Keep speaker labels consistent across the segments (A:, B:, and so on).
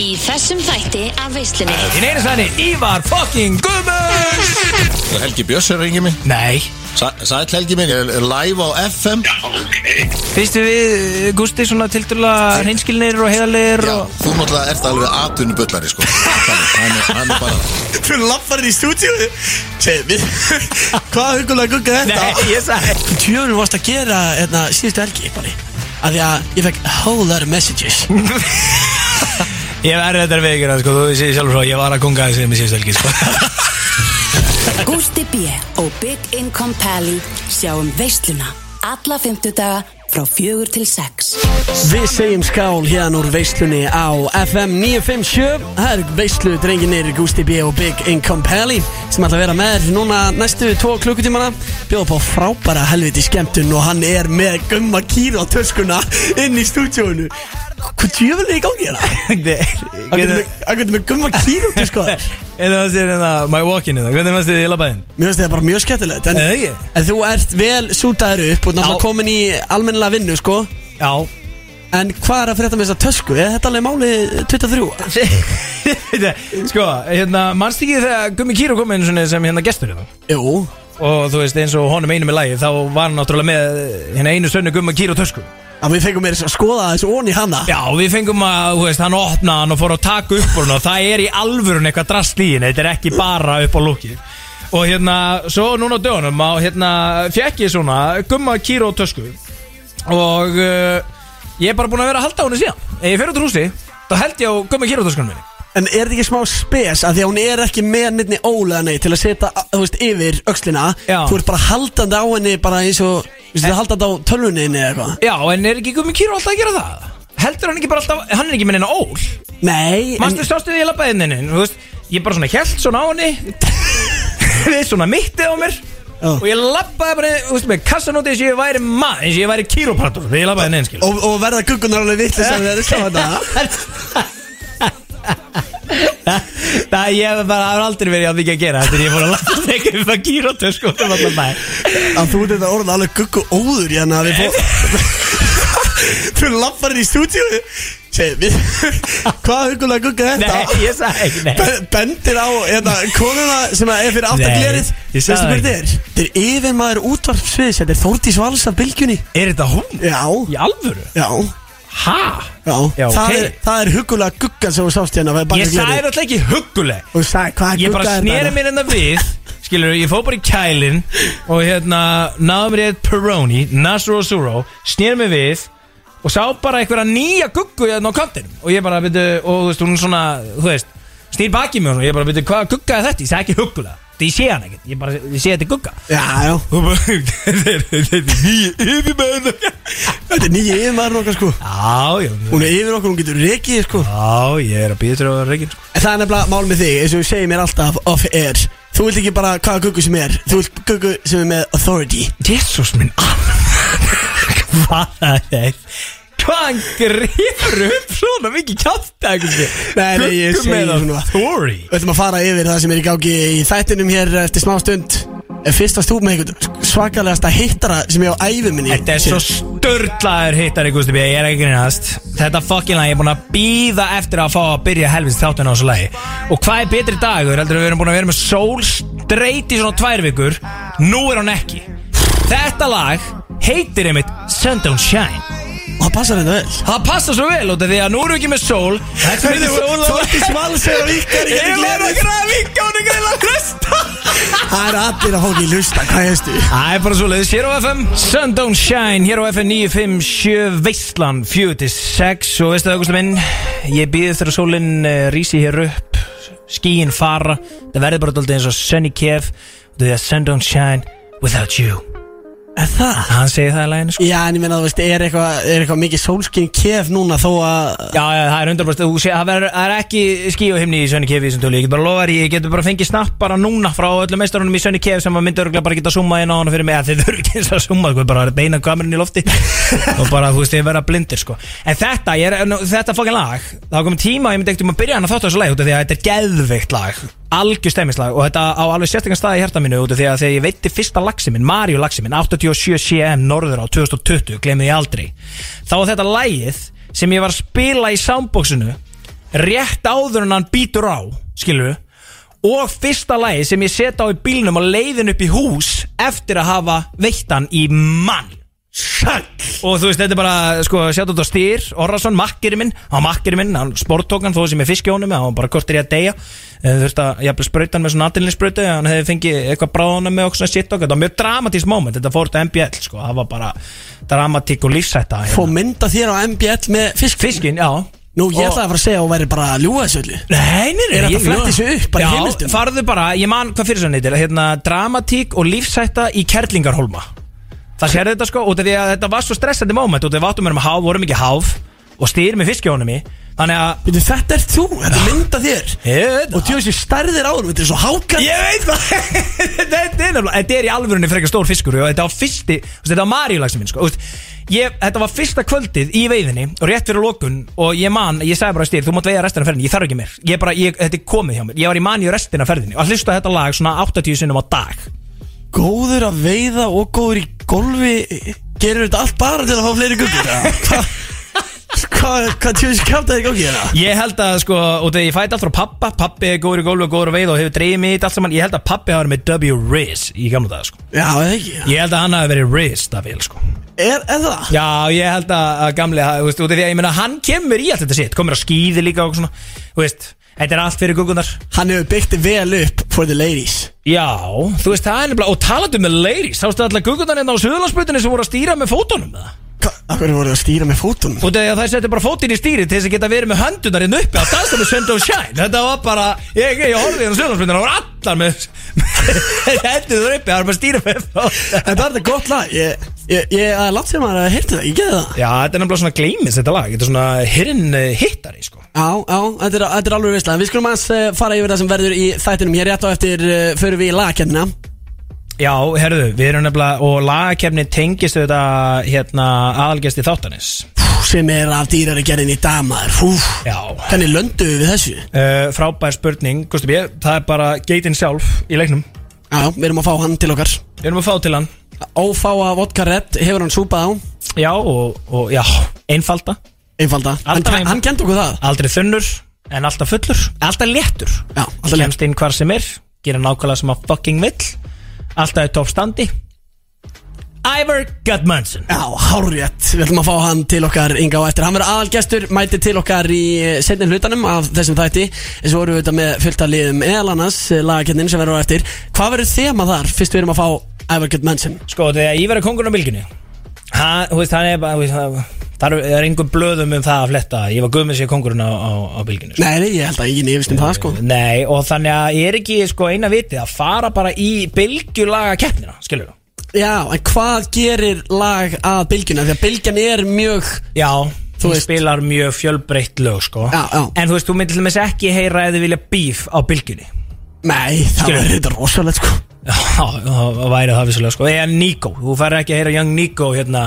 A: í þessum þætti af veislunni
B: Þín einu sæni, Ívar fucking Guðmunds
C: Helgi Björns er reyngið minn
B: Nei
C: Sa- Sæll Helgi minn, ég er live á FM
B: Fyrstu við, eh, Gústi, svona tildurlega hreinskilnir og heiðalegir
C: Já,
B: og...
C: þú náttúrulega ert alveg atvinni bullari sko Þannig, hann, er- hann er bara
D: Þú lappar í stúdíu Segðu mér Hvað hugulega gugga er þetta?
B: ég sagði
D: Tjóðum varst að gera hérna, síðustu helgi bara. Af því að ég fekk whole lot of messages
B: Ég verði þetta við ykkur, sko, þú sé sjálfur svo Ég var að gunga þessi með síðustu helgi, sko
E: Gústi B. og Big Income Pally sjáum veisluna alla fymtudaga frá fjögur til sex.
D: Við segjum skál hérna úr veislunni á FM 957 Það er veislu drenginir Gusti B. og Big Income Pally sem ætla að vera með þér núna næstu tvo klukkutímana bjóða upp á frábæra helviti skemmtun og hann er með gumma kýra á töskuna inn í stúdíónu Hvað djöfum er í gangi hérna? Hann getur með- hann getur með gumma kýra á töskuna
B: Eða það sér hérna, my walk-in hérna, hvernig fannst þið í labæðin?
D: Mér finnst þetta bara mjög skemmtilegt en,
B: Nei, ég-
D: en þú ert vel sútaður upp og náttúrulega
B: Já.
D: komin í almennilega vinnu sko
B: Já,
D: En hvað er að frétta með þessa tösku? Er þetta alveg máli 23?
B: sko, hérna, mannst ekki þegar Gummi Kíró kom inn svona sem hérna gestur hérna
D: Jú
B: Og þú veist, eins og honum einum er lagi, þá var hann náttúrulega með hérna einu sönnu Gumma Kíró tösku
D: Að við fengum meira að skoða þessu onni hana
B: Já, við fengum að, þú veist, hann opnaði hann og fór að taka upp úr hann og það er í alvörun eitthvað drast í henni, þetta er ekki bara upp á lúkið. Og hérna, svo núna á dögunum á, hérna, fekk ég svona gumma kýra og tösku og uh, ég er bara búin að vera að halda á henni síðan. Ef ég fer út úr húsi, þá held ég á gumma kýra og töskunum minni.
D: En er þetta ekki smá spes að því að hún er ekki með nefni ólega nei til að setja, þú veist, yfir öxlina
B: Já.
D: Þú ert bara haldandi á henni bara eins og, þú veist, þú haldandi á tölvunni eða eitthvað
B: Já, en er ekki gummi kýra alltaf að gera það? Heldur hann ekki bara alltaf, hann er ekki með henni ól?
D: Nei, en,
B: Manstu sástu því ég labbaði inn henni, þú veist Ég bara svona held svona á henni Við svona mittið á mér
D: Já.
B: Og ég labbaði bara, þú veist, með kassanóti eins og ég væri maður, eins og ég væri kýrópartur Þegar ég labbaði inn henni, skil
D: og, og verða guggunar alveg vitlis að vera sjá þetta
B: Það ég bara, það er aldrei verið að því að gera Þetta er ég fór að labba þegar við fann kýrótur, sko Það var bara
D: Að þú ert þetta orðið alveg guggu óður hérna að við fó Þú lappar inn í stúdíu Segðu mér Hvað hugulega gugga er þetta?
B: Nei, ég sagði ekki, nei
D: Ben- bendir á hérna, konuna sem að er fyrir
B: Nei,
D: aftaklerið
B: ég
D: Veistu
B: sagði
D: hver
B: það
D: þetta er? Þetta er yfirmaður útvarpsviðs Þetta er Þórdís Vals af bylgjunni
B: Er þetta hún?
D: Já,
B: Í alvöru?
D: já,
B: Ha?
D: já,
B: Já,
D: það,
B: ok.
D: er, það er hugulega guggan sem þú sást hérna við
B: Ég sagði
D: bakaglerið.
B: þetta ekki hugguleg
D: Og þú sagði hvað
B: Ég
D: gugga
B: bara
D: er
B: sneri
D: þetta?
B: mér hérna við Skilur, ég fóð bara í kælin Og hérna, náðum mér eitt Peroni Nasro Suro, sneri mér við Og sá bara einhverja nýja guggu Hérna á kantinum Og ég bara, veitu, og þú veist, hún svona Þú veist, snýr baki mér og ég bara, veitu, hvaða gugga er þetta Ég sagði ekki huggulega, þetta ég sé hann ekkert Ég bara, ég sé þetta er gugga
D: Já, já,
B: Og bara, þetta er þetta er nýja yfirmæður
D: þetta er nýji yfirmaður okkar sko
B: Já, já,
D: Hún er yfir okkur, hún getur rekið sko
B: já, ég er að býða til að vera sko. reygin
D: En Það er nefnilega mál með þig, eins og þú segir mér alltaf off air Þú vilt ekki bara hvaða guggu sem er Þú vilt guggu sem er með authority
B: Jésús minn Hvað er Hvaðan grefur upp svona mikið kjátt
D: Nei, nei, ég segi svona.
B: Þóri
D: Við ætlum að fara yfir það sem er í gangi í þættinum hér eftir smá stund En Fyrst varst þú með einhvern svakalegasta hittara sem ég á ævi minni
B: Þetta er svo störtlaður hittar í Gústi B Ég er ekki grínast Þetta fucking lag, ég er búin að býða eftir að fá að byrja helvins þáttin á þessu lagi Og hvað er betri dagur heldur en við erum búin að vera með sól streit í svona tvær vikur Nú er hann ekki Þetta lag heitir einmitt Sun Don't Shine
D: Og það passar þetta vel
B: Það passa svo vel út af því að nú erum við ekki með sól Þetta er sól
D: Þóttis Vals er að vinka er ekki
B: Ég var að
D: glerið
B: græða vika og negrið að hlusta
D: Það er allir að fóki í lusta, hvað hefstu?
B: Það er bara svo leiðis hér á FM Sun Don't Shine hér á FM 957 Veistlan 4-6 og veistu það Augusta minn ég býði þegar sólinn uh, rísi hér upp skíin fara það verður bara daldið eins og Sunny Kev því að Sun Don't Shine without you
D: Er það?
B: Hann segir það í læginu sko
D: Já, en ég meina, þú veist, er eitthvað er eitthvað mikið sólskinn kef núna þó að
B: Já, já, það er 100% þú sé, það, verður- það er ekki skí og himni í Sönni Kefi sem tölu, ég get bara lofa þér, ég get bara fengið snapp bara núna frá öllum meistarunum í Sönni Kefi sem að myndi örgulega bara geta zoomað inn á hana fyrir mig að þið þurfi ekki eins að zooma, sko, bara beina kamerun í lofti og bara, þú veist, þið verða blindir, sko en þetta, ég er, nú, þetta fokkin lag það var komið tíma, að ég myndi ekkert um að byrja hann að þáttu þessu lag út af því að þetta er geðveikt lag algjör stemmislag og þetta á alveg sérstakar staði í hjarta mínu út af því að þegar ég veitti fyrsta lagsi minn Mario lagsi minn 87 CM norður á 2020 glemði ég aldrei þá var þetta lagið sem ég var að spila í soundboxinu rétt áður en hann býtur á skilur og fyrsta lagi sem ég set á í bílnum og leiðin upp í hús eftir að hafa veitt hann í mann
D: Sæll
B: og þú veist þetta er bara sko sjátt út á stýr Orrason, makkeri minn, hann var makkeri minn hann sportókan þó sem ég fiski honum hann var bara kortir í að deyja Eh, þurfti að jafnvel sprauta hann með svona aðdelinsbrautu hann hefði fengið eitthvað bráðunum með okkur svona shit okkur þetta var mjög dramatísk moment þetta fór til MBL sko það var bara dramatík og lífsætta
D: Fó
B: hérna.
D: mynda þér á MBL með fisk
B: fiskin, já
D: Nú
B: Og-
D: ég ætlaði að fara að segja að hún væri bara að ljúa þessu öllu
B: Nei, nei, nei
D: Er hægt
B: ég-
D: að fletta þessu upp bara í
B: Já,
D: heimildum?
B: farðu bara, ég man hvað fyrir svo neytir hérna, Dramatík og lífsætta í Kerlingarholma Það sér þetta sko, út af því að þetta var svo stressandi moment Út af því að við áttum erum háf, vorum ekki háf Og stýr með fiskjónum í Þannig að
D: Veitu, Þetta er þú, þetta er mynda þér
B: Ég
D: Og djóðis ég stærðir á þér, þetta er svo hákall
B: Ég veit það Þetta er nefnilega Þetta er í alvörunni frekar stór fiskur og Þetta var fyrsti þú veist, Þetta var Maríulagsin minn sko. Þú veist, ég, Þetta var fyrsta kvöldið í veiðinni Og rétt fyrir lokun Og ég man Ég sagði bara styr Þú mátt veiða restina af ferðinni Ég þarf ekki mér ég bara, ég, Þetta er komið hjá mér Ég var í mani restina af ferðinni Og að hlusta á þetta lag Svona 80 sinnum á dag
D: Góður að veiða og góður í golfi Gerur þetta allt bara til að fá fleiri guggur Hvað hva, hva djóðis kjátt að þér gangi hérna?
B: Ég held að sko Og þegar ég fæti allt frá pappa Pappi er góður í gólfi og góður að veiða Og hefur dreigið mig í þetta allt saman Ég held að pappi hafi verið með W. Riz í gamla daga, sko.
D: Já, eða ekki
B: Ég held að hann hafi verið Riz, Davíl, sko.
D: Er, er það?
B: Já, ég held að, að gamli, þú veist, út af því að ég meina hann kemur í allt þetta sitt, komur á skýði líka og svona, þú veist, þetta er allt fyrir gungunar.
D: Hann hefur byggt þið vel upp for the ladies
B: Já, þú veist, það er nefnilega, og talandi um með ladies, sástu alltaf gungunar hérna á Suðurlandsbutinu sem voru að stýra með fótunum með það.
D: Hvað, af hverju voru það að stýra með fótunum?
B: Út af því að það setja bara fótinn í stýri til þess að geta verið með höndunar hérna uppi á dansa með Sund og Shine. Þetta var bara, ég, ég horfði hérna á Suðurlandsbutinu, það voru allar með, með hendunar uppi, það var bara að stýra með fótunum.
D: Þetta er þetta gott lag Ég, ég, ég það er langt sem maður að heyrta það, ég geði það
B: Já, þetta er nefnilega svona gleimist þetta lag, þetta er svona hirn eh, hittari, sko.
D: Já, já, þetta er, þetta er alveg veistlega Við skulum aðeins eh, fara yfir það sem verður í þættinum Hér rétt á eftir uh, förum við í lagkjarnina
B: Já, herðu, við erum nefnilega og lagakefni tengist auðvitað hérna aðalgesti þáttanis
D: Sem er af dýrari gerðin í damar Fú,
B: Já.
D: Hvernig löndu við þessu?
B: uh, Frábær spurning, Gusti B, það er bara geitin sjálf í leiknum
D: Já, við erum að fá hann til okkar
B: Við erum að fá til hann
D: Ófáa vodka redd hefur hann súpað á
B: Já, og, og já, einfalda
D: Einfalda Hann,
B: Alltaf
D: hann, hann kent okkur það
B: Aldrei þunnur, en alltaf fullur Alltaf léttur
D: Já, alltaf létt.
B: Kemst inn hvar sem er, gera nákvæmlega sem að fucking vill Alltaf í toppstandi Ivar Gudmundsson
D: Já, hárjætt, við ætlum að fá hann til okkar Inga á eftir, hann verður aðalgestur, mæti til okkar í setni hlutanum af þessum þætti en svo vorum við þetta með fullt að liðum eðal annars lagakennin sem verður á eftir Hvað verður þema þar, fyrst við erum að fá Ævar Gjöld Manson?
B: Sko, þegar Ívar er kongurinn á bylginni ha, þú veist, hann er bara þú veist, það- Það eru- er einhver blöðum um það að fletta Ég var guðmið sér kongurinn á, á, á bylginni sko.
D: Nei, nei, ég held að ég nefist um það sko
B: Nei, og þannig að ég er ekki sko, eina vitið að fara bara í bylgjulaga keppnina Skilur þú?
D: Já, en hvað gerir lag að bylgjuna? Því að bylgjan er mjög
B: Já,
D: Þú
B: þú
D: veist-
B: spilar mjög fjölbreytt lög sko.
D: Já, já.
B: En þú veist, þú myndir til þess ekki heyra eða vilja bíf á bylgjunni
D: Nei, það
B: Skilur.
D: verður þetta rosalegt sko
B: Já, það væri það vissulega sko Eða Nico, þú fær ekki að heyra Young Nico hérna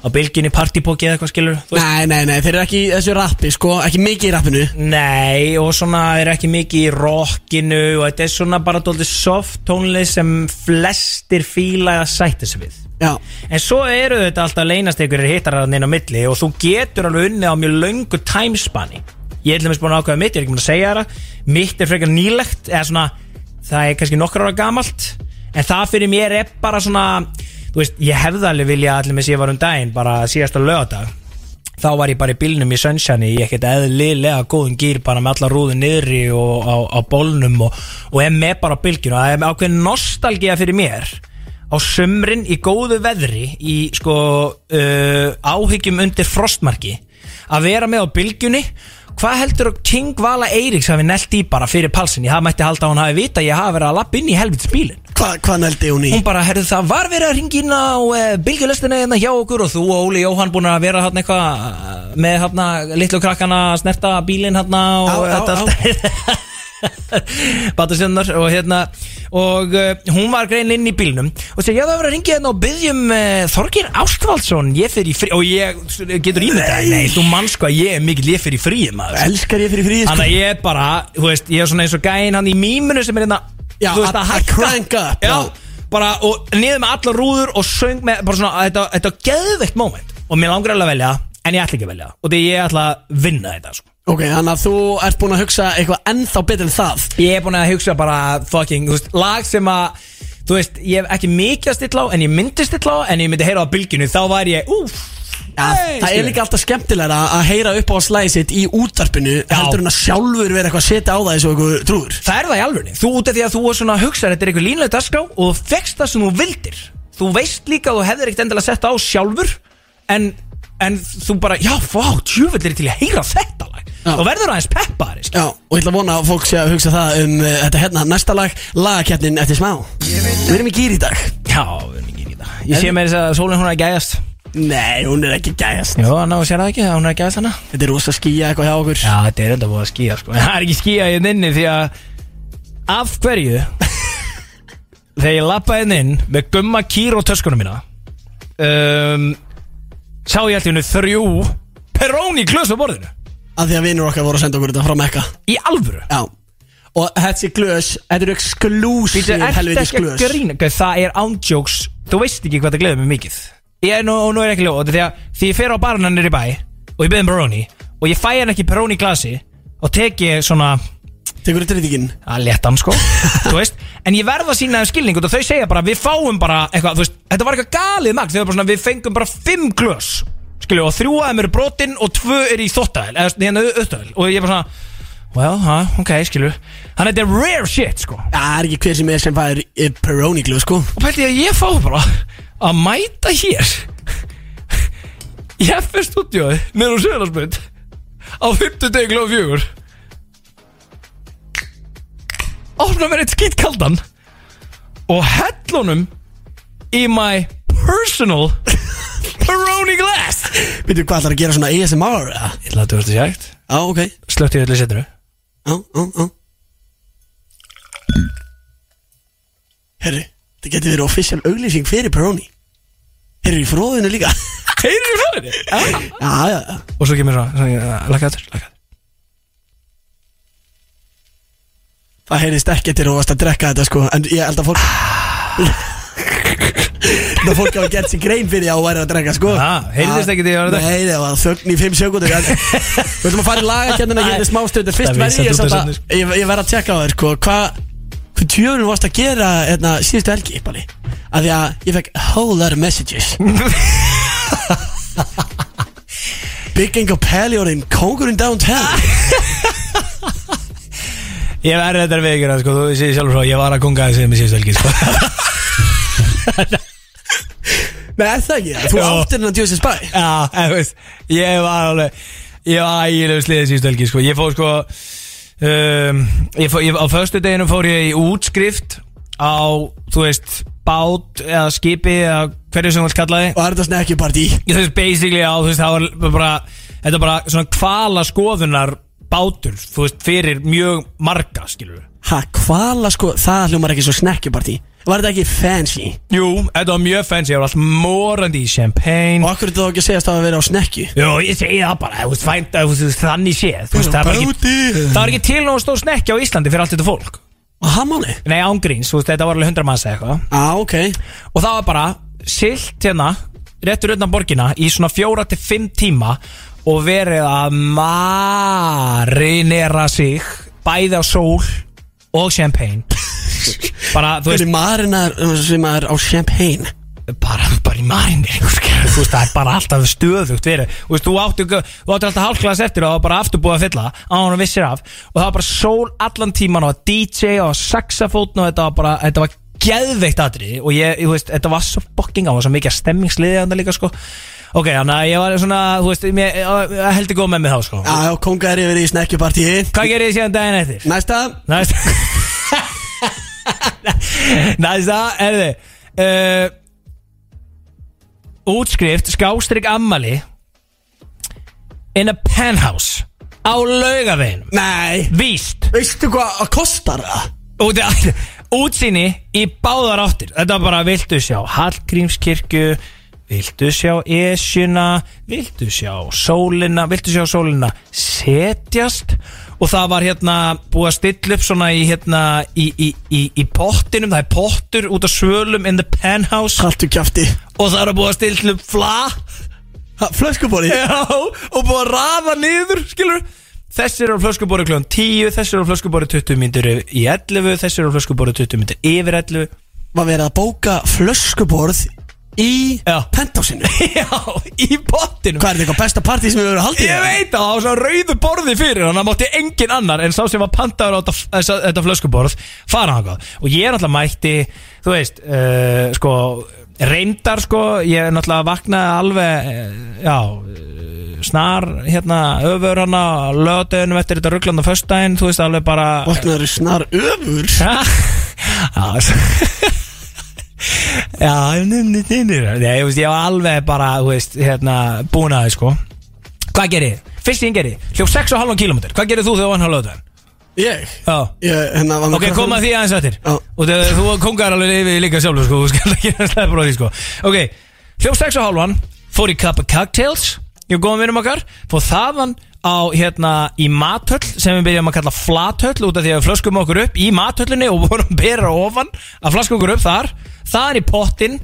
B: á bylgjunni partypóki eða eitthvað skilur þú veist?
D: Nei, nei, nei, þeir eru ekki í þessu rappi sko, ekki mikið í rappinu
B: Nei, og svona er ekki mikið í rockinu og þetta er svona bara dóldi soft tónlist sem flestir fíla að sætta sig við.
D: Já,
B: En svo eru þetta alltaf leynast ykkur hittararinn inn á milli og þú getur alveg unnið á mjög löngu timespanni. Ég er til dæmis búin að ákveða mitt, ég er ekki búin að segja þér það. Mitt er frekar nýlegt, eða svona, það er kannski nokkra ára gamalt, en það fyrir mér er bara svona, þú veist, ég hefði alveg vilja allir með sér var um daginn, bara síðasta lögadag þá var ég bara í bílnum í Sunshine í ekkert eðlilega góðum gýr bara með alla rúðin niðri og á, á bólnum og, og er með bara á bylgjuna það er með ákveðin nostalgía fyrir mér á sömrin í góðu veðri í sko uh, áhyggjum undir frostmarki að vera með á bylgjunni hvað heldur að King Vala Eiríks hafi nelt í bara fyrir palsin ég hafi mætti halda að hún hafi vita ég hafi verið að lappa inn í helvits bílin
D: Hva, hvað nældi hún í?
B: hún bara, herðu það var verið að ringina og e, bylgjulestina hérna hjá okkur og þú og Óli Jóhann búin að vera hann eitthvað eh, með hann litlu krakkana að snerta bílinn hann og
D: Á, á, á.
B: þetta Batasjöndar og hérna og uh, hún var grein inn í bílnum og segi, já það var að ringja hérna og byggjum uh, Þorgir Ástvaldsson, ég fyrir í frí og ég, getur ímyndað, nei, þú mann sko að ég er mikill, ég fyrir í frí maður
D: Elskar ég fyrir fríð sko
B: Þannig að ég er bara, þú veist, ég er svona eins og gæinn hann í mímunu sem er hérna
D: Já,
B: þú veist,
D: að- að
B: hækka.
D: crank up,
B: Já,
D: já.
B: bara og niður með allar rúður og söng með, bara svona, þetta, þetta var geðveikt moment Og mér langar alveg að velja, en ég ætla ekki að velja Og því ég ætla að vinna þetta, sko
D: Ok, þannig að þú ert búin að hugsa eitthvað ennþá betur en það
B: Ég er búin að hugsa bara fucking, þú veist, lag sem að Þú veist, ég hef ekki mikið að stilla á En ég myndi stilla á, en ég myndi heyra á bylginu Þá væri ég, úf
D: ja, Það er líka alltaf skemmtilega að heyra upp á slæði sitt í útvarpinu heldur en að sjálfur vera eitthvað að setja á það eins og eitthvað trúður
B: Það er það í alvörni, þú út af því að þú er svona að hugsa Þetta er einhver línlega dagskrá og þú fegst það sem þú vildir Þú veist líka að þú hefðir ekkert endilega sett á sjálfur En, en þú bara, já, fá, tjúvill er ég til í að heyra þetta lag
D: Já.
B: Og verður aðeins peppari,
D: Já, og ég ætla að vona að fólk sé að hugsa það um uh, þetta hérna, næsta lag, lagakeppnin eftir smá Við erum í gýr í dag
B: Já, við erum ekki í þetta Ég sé með þess að sólinn hún er að gæðast
D: Nei, hún er ekki gæðast
B: Jó, hann á að sér það ekki, hún er að gæðast hana
D: Þetta er rosa skýja eitthvað hjá okkur
B: Já, þetta er enda búið að skýja sko. En Það er ekki skýja í inni því að Af hverju Þegar ég lappaði inn inn Með gumma kýr og töskunum mína um, Sá ég alltaf hennu þrjú Perón í klös á borðinu
D: Af því að vinnur okkar voru að senda okkur þetta frá Mekka
B: Í alvöru
D: Já Og þessi glös, þetta eru
B: Býtu,
D: exklusív
B: ertu
D: helvitis
B: ekki að
D: glös
B: grína Gau, Það er ándjóks Þú veist ekki hvað það gleður mig mikið Ég er nú, og nú er ég ekki ljóð Því að því ég fer á barna nýri bæ Og ég beðum Peroni Og ég fæ hann ekki Peroni í glasi Og tek ég svona
D: Tekur þetta rítikinn
B: að leta hann sko þú veist, en ég verða að sína þeim skilning út og þau segja bara við fáum bara eitthvað, þú veist, þetta var eitthvað galið magt, þau var bara svona við fengum bara fimm glös, skilju, og þrjú af þeim eru brotin og tvö eru í þóttavel, eða svona, hérna auðtavel, og ég bara svona well, ha, ok, skilju, þannig að þetta er rare shit sko,
D: Já, það er ekki hver sem er sem fær eh, Peroni glös, sko
B: og pælti ég að ég fá bara að mæta hér í FF stúdíói með hún sögurnarsmynd á 50 deg glóð fjögur opna mér eitt skýt kaldan og hellunum í my personal Peroni glass
D: Býtu, hvað ætlar að gera svona ASMR? eða?
B: Ég ætla að þú veist að sjægt
D: Já, ok Já,
B: Slökti ég öllu setinu
D: já, já Herri, þetta getur verið official auglýsing fyrir Peroni Herri, í fróðinu líka
B: Heyrðu frá henni
D: Já, já, já
B: Og svo kemur svo, lakka aftur, lakka aftur
D: Það heyrðist ekkert þegar þú varst að drekka þetta sko En ég held að fólk Það fólk hafa gert sér grein fyrir því að þú væri að drekka sko
B: Ah, heyrðist ekkert þegar ég var að drekka?
D: Nei, það var þögn í 5 sekundur Við ætlum að fara í lagakennina hérna smástöður Fyrst
B: Það vísar
D: verði ég
B: út af
D: samt að
B: seinni,
D: Ég, ég verð að tjekka á þér sko Hvað Hvað tjóðunum varst að gera hérna, síðustu helgi Bali? Af því að ég fekk whole lot of messages Bygging og peljórinn Kongurinn downtown
B: Ég verði þetta við ykkur að sko, þú séð sjálfur frá, ég var að konga þessi með síðustu helgi sko.
D: Nei, er það ekki? Þú
B: Jó.
D: áttir hérna hennan tjóðsins bæ
B: Já, en þú veist, ég var alveg Ég var ægilega sliðið síðustu helgi sko. Ég fór sko um, ég fór, ég, Á föstu deginu fór ég í útskrift Á, þú veist, bát Eða skipi, eða hverju sem þú vilt kalla þið
D: Og er þetta snekkjupartí
B: Ég þú veist, basically á, þú veist, það var bara Þetta var bara svona kvala skoðunar Bátur, þú veist, fyrir mjög marga, skilur
D: Ha, hvala sko, það hljómar ekki svo snekkjupartí Var þetta ekki fancy?
B: Jú, þetta var mjög fancy, ég var allt morandi í champagne
D: Og akkur er þetta þá ekki að segja að það að vera á snekju?
B: Jó, ég segi það bara, þú veist, fænd, þú veist, þannig séð Þú veist, það er bara ekki,
D: Báti.
B: það er ekki til nóg stóð snekki á Íslandi fyrir allt þetta fólk
D: Og hann máli?
B: Nei, ángríns, þú veist, þetta var alveg hundra manns eða eitthvað
D: Á, ok
B: Og það var bara silt hérna, réttur undan borgina í svona fjóra til fimm tíma og verið að marinera sig bæði á sól og champagne Bara, þú
D: Þetta
B: veist,
D: er marinar uh, sem er á champagne
B: bara, bara í marineringu skilur, þú veist, það er bara alltaf stöðugt verið, þú veist, þú áttu, þú áttu alltaf hálfklass eftir og það var bara aftur búið að fylla á hann og vissir af og það var bara sól allan tíman og DJ og saxafótn og þetta var bara, þetta var geðveikt atrið og ég, þú veist, þetta var svo fucking á og svo mikið stemmingsliðið hann líka sko ok, þannig að ég var svona, þú veist, mér, ég heldur góð með mig þá sko
D: Já, já, konga er yfir í snekkjupartí
B: hvað gerir ég síðan daginn eftir?
D: Næsta
B: Næsta Næsta er þið uh, Útskrift skástrík ammali In a penthouse Á laugaveginum
D: Nei
B: Víst
D: Veistu hvað að kostar það?
B: Út, Útsýni í báðar áttir Þetta var bara viltu sjá Hallgrímskirkju Viltu sjá Esjuna Viltu sjá sólina Viltu sjá sólina setjast Og það var hérna búið að stilla upp svona í hérna í, í, í, í pottinum Það er pottur út af svölum in the penthouse
D: Haltu kjafti
B: Og það er búið að stilla upp fla
D: Flöskubóri
B: Já, og búið að rafa niður, skilur Þessir eru flöskubóri kljóðan 10 Þessir eru flöskubóri 20 myndir í 11 Þessir eru flöskubóri 20 myndir yfir 11
D: Var verið að bóka flöskuborð Í
B: Já.
D: pentásinu
B: Já, í bottinum
D: Hvað er þetta eitthvað besta partí sem við verið að halda í?
B: Ég veit það, það var svo rauðu borði fyrir hann Það mátti engin annar en sá sem var pantaður á þetta- þessa- þetta flöskuborð Fara hann Og ég er náttúrulega mætti Þú veist, uh, sko Reyndar sko, ég er náttúrulega vaknaði alveg eh, Já eh, Snar, hérna, öfur hann á Löðunum eftir þetta ruggland á föstudaginn Þú veist, alveg bara
D: Vaknaður snar öfur
B: Já, já, s- já, nynni, nynni, nynni. Nei, ég veist, ég var alveg bara, þú veist, hérna, búin að það, sko Hvað gerir þið? Fyrst ég gerir þið, hljóf 6,5 km Hvað gerir þú þegar þú vann hálfa lögðan?
D: Ég
B: Já,
D: Ég, hérna, var með
B: ok,
D: krökkum.
B: koma að því aðeins eftir
D: Já.
B: Og þegar þú kongar alveg yfir líka sjálfur, sko, þú skal ekki að slæða bróði, sko Ok, hljóf 6,5, fór í cup of cocktails Ég er góðum vinum okkar, fór þaðan á, hérna, í matöll sem við byrjum að kalla flatöll út af því að við flöskum okkur upp í matöllinni og vorum bera ofan að flaska okkur upp þar þar í pottin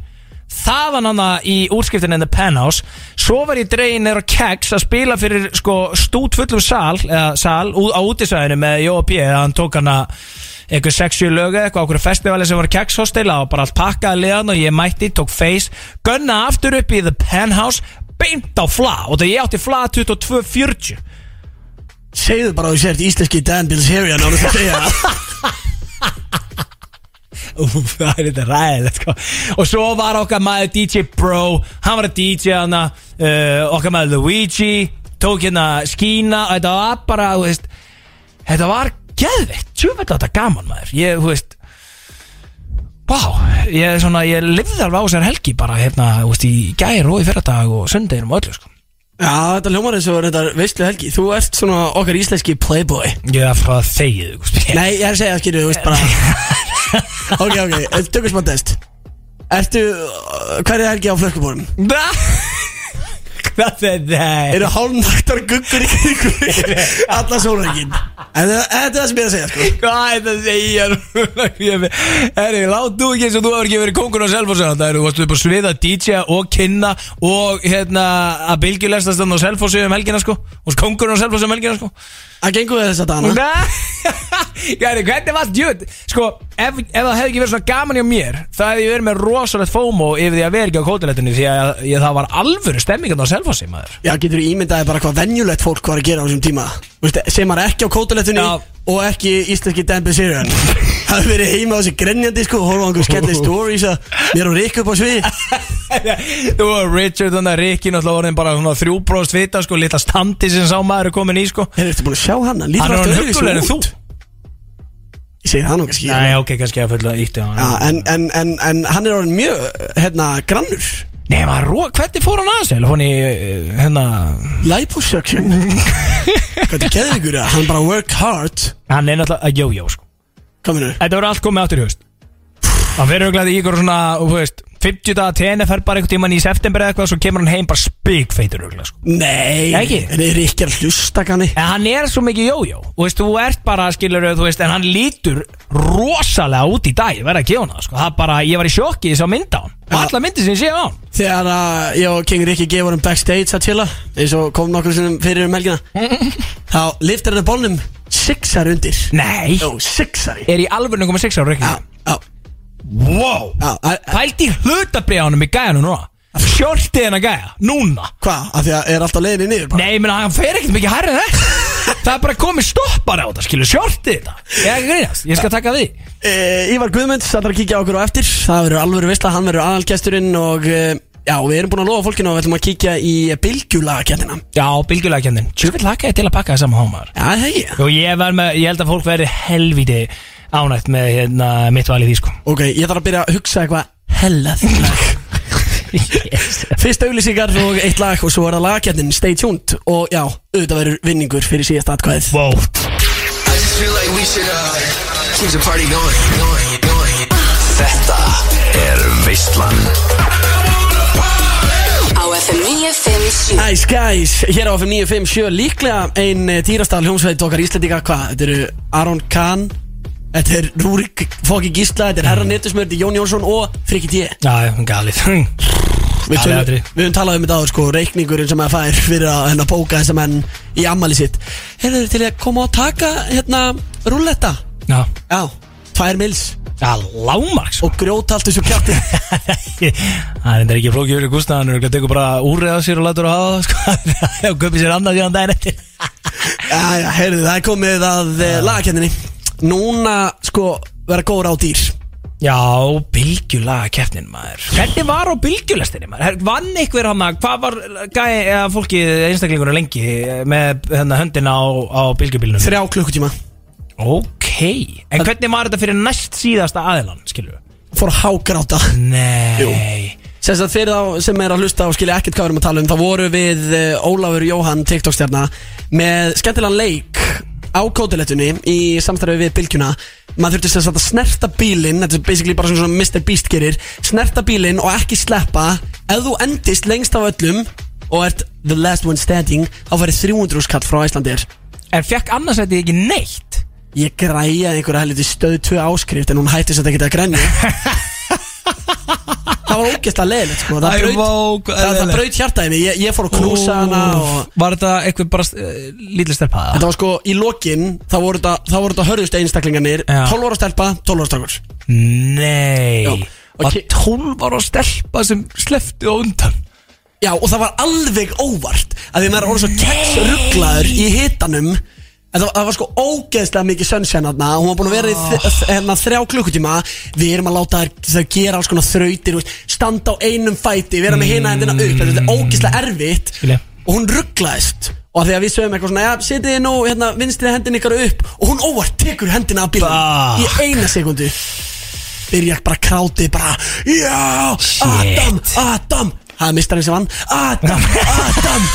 B: það var nána í útskiptinu in the penthouse svo var ég dregin er á kegs að spila fyrir sko stút fullum sal, eða, sal ú, á útisæðinu með Jóa P eða hann tók hann að einhver 60 lögu eitthvað, okkur festivali sem var kegs hostela og bara allt pakkaði liðan og ég mætti, tók face gunna aftur upp í the penthouse beint á fla og það ég átti fla 22.40
D: Segðu bara að þú sért íslenski Dan Bilzerian Ánum það segja
B: Úf, það er þetta ræðilegt sko. Og svo var okkar maður DJ Bro Hann var að DJ hana uh, Okkar maður Luigi Tók hérna skína og Þetta var bara, þú veist Þetta var geðveikt, tjúfæll þetta gaman maður Ég, þú veist Vá, ég, er svona, ég lifði alveg á þessar helgi bara hérna, þú veist, í gær og í fyrradag og sundeginum og öllu sko.
D: Já, þetta hljómar eins og þetta veistlu helgi Þú ert svona okkar íslenski playboy
B: Ég er frá þegið sko.
D: Nei, ég er að segja það skilju, þú veist bara Ok, ok, eh, tökum smá test Ertu, uh, hverja helgi á flökkubórum?
B: Hvað er það?
D: Eru hálfnaktar guggur í kringu Alla sólrækin Þetta þetta er það sem ég er að segja sko
B: Hvað er þetta að segja núna? Ég me- Herri, lát þú ekki eins og þú hefur ekki verið kóngur á Selfossan Það eru, þú varst upp að sviða DJ og kynna Og hérna, að bylgjulestast þannig á Selfossu um helgina sko Og kóngur á Selfossu um helgina sko
D: Það gengur við þess að dana
B: Nei, Herri, hvernig var djöð? Sko, ef, ef það hefði ekki verið svona gaman hjá mér Það hefði ég verið með rosalegt FOMO Yfir því að vera ekki á kótilettinu Því að ég, það var alvöru stemmingan á Selfossi, maður
D: Já, getur þú ímyndaði bara hvað venjulegt fólk var að gera á þessum tíma Vistu, Sem var ekki á kótalettunni
B: Já.
D: Og ekki íslenski Dan Bilzerian Það hefur verið heima á þessi grenjandi sko Horfa á einhver skellið stories að Mér og Rick upp á svið
B: Þú og Richard, þannig að Rikki Náttúrulega orðin bara svona þrjúbróðst vita sko Lilla standi sem sá maður er komin í sko
D: Hefur þetta búin að sjá hann? Hann
B: Hann er hann huggulegur en þú
D: Ég segir það nú kannski
B: Nei, ok, kannski að fulla ítti á
D: Já,
B: hann
D: en, en, en, en hann er orðin mjög, hérna, grannur
B: Nei, maður, ró- hvernig fór hann aðeins? Hún í, eh, hérna
D: Liposuction Hvað er keðvíkur að hann bara work hard
B: Hann er náttúrulega, að jójó, sko
D: Kominu
B: Þetta voru allt komið áttur í haust Hann verður auðvitað í ykkur svona, þú veist 50 daga TNF fer bara einhvern tímann í september eða eitthvað Svo kemur hann heim bara spikfeitur auðvitað, sko
D: Nei
B: Ekki?
D: En er ekki að hlusta kanni
B: En hann er svo mikið jójó Þú veist, þú ert bara, skilur þú veist En hann lítur rosalega út í dag Verða að gefa hann það, sko Það bara, ég var í sjokki, ég sá mynd á hann Og
D: Já.
B: alla myndi sem ég sé á hann
D: Þegar að ég og King Rikki gefur hann backstage að chilla eins og kom nokkur sinnum fyrir um helgina Þá liftir hann bólnum Sixar undir
B: Nei,
D: Jó, sixari
B: er í alvörnum komið 6 ára, ekki?
D: Já, já,
B: Wow
D: já að- að-
B: Pælt í hlutabriðanum í gæjanum núna Fjórtið hennar gæja, núna
D: Hvað? Af því að er alltaf leiðinni niður bara
B: Nei, ég meina, hann fer ekkert mikið hærri en þetta Það er bara komið stoppar á þetta, skilur, sjórtið þetta Ég er ekki að grínast, ég skal taka því
D: Uh, Ívar Guðmunds, það er að kíkja á okkur á eftir Það verður alvöru veistla, hann verður aðalgesturinn og uh, já, við erum búin að lofa fólkinu og við ætlum að kíkja í bylgjulagakendina Já,
B: Já, bylgjulega kendin, tjúfitt laka ég til að pakka það saman hámaður
D: það hegi
B: Og ég, var með, ég held að fólk verði helviti ánægt með hérna, mitt valið því, sko
D: Ok, ég þarf að byrja að hugsa eitthvað hellað lag Fyrst auðlýsingar og eitt lag og svo er það lagakendin, stay tuned og já, auðvitað verður vinningur fyrir síðast atkvæðið
B: Wow
F: I just feel like we should uh, keep the party going, going, going. Þetta er Veistland
E: Á FM 957
D: Ice Guys, hér á FM 957 líklega ein eh, dýrasta hljómsveit okkar íslendinga, hvað, þetta eru Aron Kahn Þetta er Rúrik Fóki Gísla, þetta er Herra Netusmör, þetta er Jón Jónsson og Friki T
B: Já, já, hún galið
D: við, tölum,
B: Aðalatriði.
D: við höfum talað um þetta áður sko Reikningurinn sem maður fær fyrir að hérna, bóka þess að menn í ammali sitt Heyrðu þeir til að koma og taka hérna rúlletta
B: Já,
D: Já, tvær mils
B: já lámark sko.
D: og grjóta allt þessu kjátti
B: Það er þetta ekki flókið fyrir Gustaf Hann er ekki að teka bara úrið á sér og lætur að hafa það sko. Og köpi sér annað síðan daginn eftir
D: Já, já, heyrðu það er komið að uh, lagakenninni Núna sko vera góður á dýr
B: Já, bylgjulaga keppnin maður Hvernig var á bylgjulestinni maður? Her- Vann einhver hann að hvað var gæ, eða, fólki, einstaklingur lengi eh, með hérna, höndina á, á bylgjubílnum?
D: Þrjá klukkutíma
B: Ok, en hvernig var þetta fyrir næst síðasta aðilan, skilur við?
D: Fór að hágráta
B: Nei
D: Jú. Sess að fyrir þá sem er að hlusta og skilja ekkert hvað við erum að tala um Þá voru við eh, Ólafur Jóhann, TikTok-stjarna Með skemmtilegan leik á kótilettunni Í samstarfi við Bylgjuna Maður þurfti sess að snerta bílinn Þetta er basically bara svona Mr. Beast gerir Snerta bílinn og ekki sleppa Ef þú endist lengst af öllum Og ert the last one standing Þá færi 300 skall frá Íslandir
B: En fekk annars þetta ekki neitt?
D: Ég græjaði einhverja helviti stöð 2 áskrift En hún hætti þess að þetta geta að grænja Það var ógeðslega leiðilegt sko Það
B: Æ,
D: braut,
B: vá, hvað
D: það, það
B: leiðilegt.
D: braut hjartaði mig ég, ég fór að knúsa hana og
B: Var þetta eitthvað bara uh, lítið stelpaða?
D: Þetta var sko í lokin Þá voru þetta, þá voru þetta hörðust einstaklingarnir
B: Já.
D: 12 ára stelpa, 12 ára strákur
B: Nei
D: Já, og
B: Var
D: ki-
B: 12 ára stelpa sem sleftu á undan
D: Já og það var alveg óvart að því maður er orðið svo keks rugglaður í hitanum En það, það var sko ógeðslega mikið sunshine hérna Hún var búin að vera í þ- þ- hérna, þrjá klukkutíma Við erum að láta þær, þær gera alls konar þrautir þú veist, Standa á einum fæti Vera með hina hendina upp Þetta er ógeðslega erfitt
B: Skilja.
D: Og hún rugglaðist Og að því að við sögum eitthvað svona Já, setið þið nú hérna, vinstrið hendin ykkar upp Og hún óvart tekur hendina af
B: Bah.
D: bílum Í eina sekundu Byrjar bara krátið bara Já, Adam, Adam Það er mistarinn sem vann Adam, Adam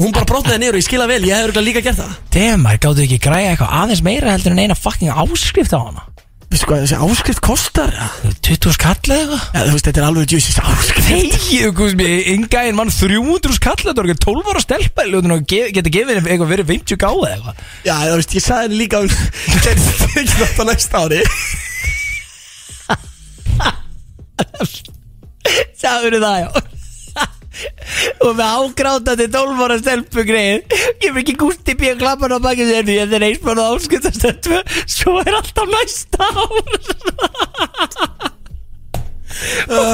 D: Hún bara brotnaði niður og ég skila vel Ég hefði örugglega líka gert það
B: Demar, gáttu ekki græja eitthvað aðeins meira heldur en eina fucking áskrift á hana
D: Veistu hvað Sko, þessi áskrift kostar? Ja,
B: 20 skall eða eitthvað
D: þú veist, þetta er alveg djúsis áskrift
B: Þegiðu, Gusmi, yngæðin mann 300 skall Þetta er ekki 12 ára stelpa í ljóðinu og ge- geta gefið henni eitthvað verið 50 gáð eða eitthvað
D: Já, þú veist, ég sagði henni líka um Gerði þið ekki þetta næsta ári
B: Sáður það, já Og með ágrátandi 12 ára stelpu greið Ég vil ekki gústi bíða klappan á baki sér Því þetta er einsmann og áskiptastelpu Svo er alltaf næsta ár
D: Æ,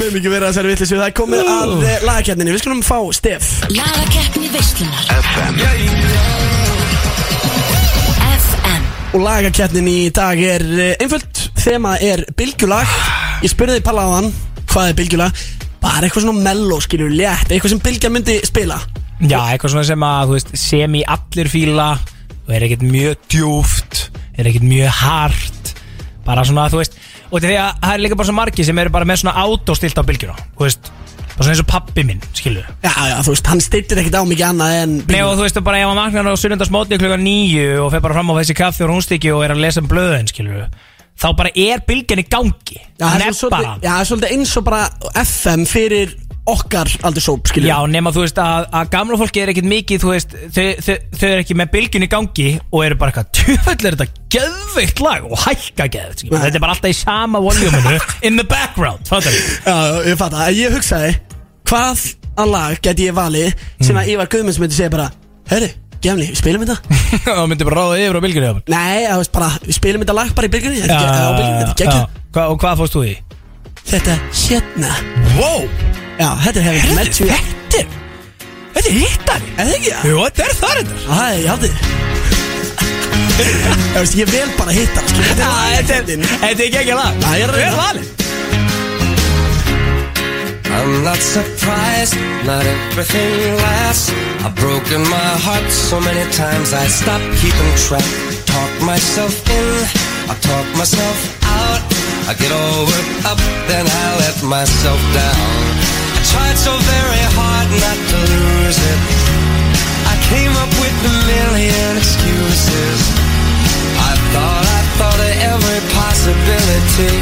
D: Með mikið verið að þessari vittlis Það er komið að lagakjarninni Við skulum fá Stef
A: Lagakeppni veislunar
F: FM
A: FM
D: Og lagakeppnin í dag er eh, einföld Þema er bylgjulag Ég spurði þig Palla á hann Hvað er bylgjulag? Bara eitthvað svona mello skilur létt Eitthvað sem bylgja myndi spila
B: Já, eitthvað svona sem að, þú veist, sem í allir fíla og er ekkert mjög djúft er ekkert mjög hart bara svona, þú veist og til því að það er líka bara svo margi sem eru bara með svona autostilt á bylgjuna, þú veist bara svona eins og pappi minn, skilu
D: Já, já, þú veist, hann stillir ekkert á mikið annað en
B: Nei og
D: bylgjulag
B: þú veist bara ef hann vaknar á sunnundarsmóti klukkan nýju og fer bara fram á þessi kaffi og rúnstykki og er að lesa um blöðin, skilu þá bara er bylgjun í gangi
D: Já, það er
B: Neppa
D: svolítið-
B: hann
D: já, það er svolítið eins og bara FM fyrir okkar aldur sóp skilur
B: Já, nema þú veist að, að gamla fólki er ekkit mikið, þú veist, þau, þau, þau er ekki með bylgjun í gangi og eru bara eitthvað, tjöfell er þetta geðveikt lag og hækka geðveikt, skilur.
D: Nei.
B: þetta er bara alltaf í sama voljúminu, in the background, fattar við.
D: Já, já, ég fatt að ég hugsaði Hvað að lag geti ég valið sem
B: Mm.
D: að Ívar Guðmunds myndi segja bara Hörru, gemli, við spilum þetta
B: Það myndi bara ráða yfir á bylgjunni hjá mér.
D: Nei, þú veist bara, við spilum þetta lag bara í bylgjunni Þetta er á bylgjunni,
B: Já,
D: þetta er geggjað
B: Hva, og hvað fórst þú í?
D: Þetta hérna
B: Wow,
D: Já, þetta er hérna hefðið með tjú
B: þetta er, þetta er hittari.
D: Eða ekki það?
B: Jú, þetta er þar þetta.
D: Það er, ég hafði Ég veist, ég vel bara hitta skilur, Þetta er lagið, hérna
B: Þetta er,
D: fyndin.
B: þetta er geggja lag.
D: Það er
B: Vel
D: reyna
B: valið.
F: I'm not surprised, not everything lasts. I've broken my heart so many times I stopped keeping track. Talk myself in, I talk myself out. I get all worked up, then I let myself down. I tried so very hard not to lose it. I came up with a million excuses. I thought, I thought of every possibility.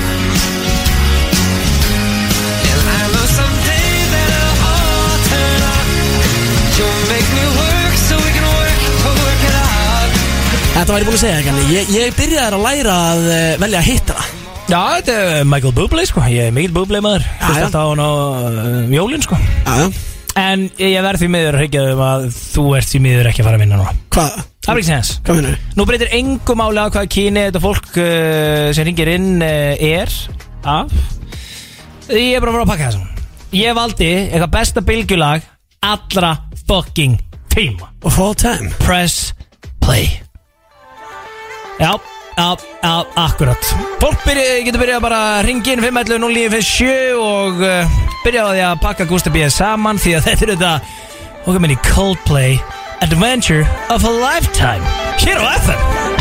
F: And I know someday that it'll all turn up. You'll make me work so we can work to work it out.
D: Þetta var ég búin að segja ekki Ég, ég byrjaði að læra að eh, velja hittara
B: Já, þetta er Michael Bublé sko Ég er mikill Bublé maður Fyrst
D: já.
B: alltaf á hann á uh, jólin sko
D: Já, já.
B: En ég verð því miður að hryggja um að þú ert því miður ekki að fara að vinna núna
D: Hvað?
B: Það er ekki sens
D: Hvað minnur?
B: Nú breytir engu máli á hvað kyni þetta fólk uh, sem ringir inn uh, er af Ég er bara að fara að pakka þessum Ég valdi eitthvað besta bylgjulag allra fucking tíma
D: Of all time
B: Press play Já, já, já, akkurat Fólk byrja, getur byrjað bara að ringa inn 511 0957 og uh, byrja á því að pakka Gústa B. saman því að þetta er þetta okkar minni Coldplay Adventure of a Lifetime hér á FM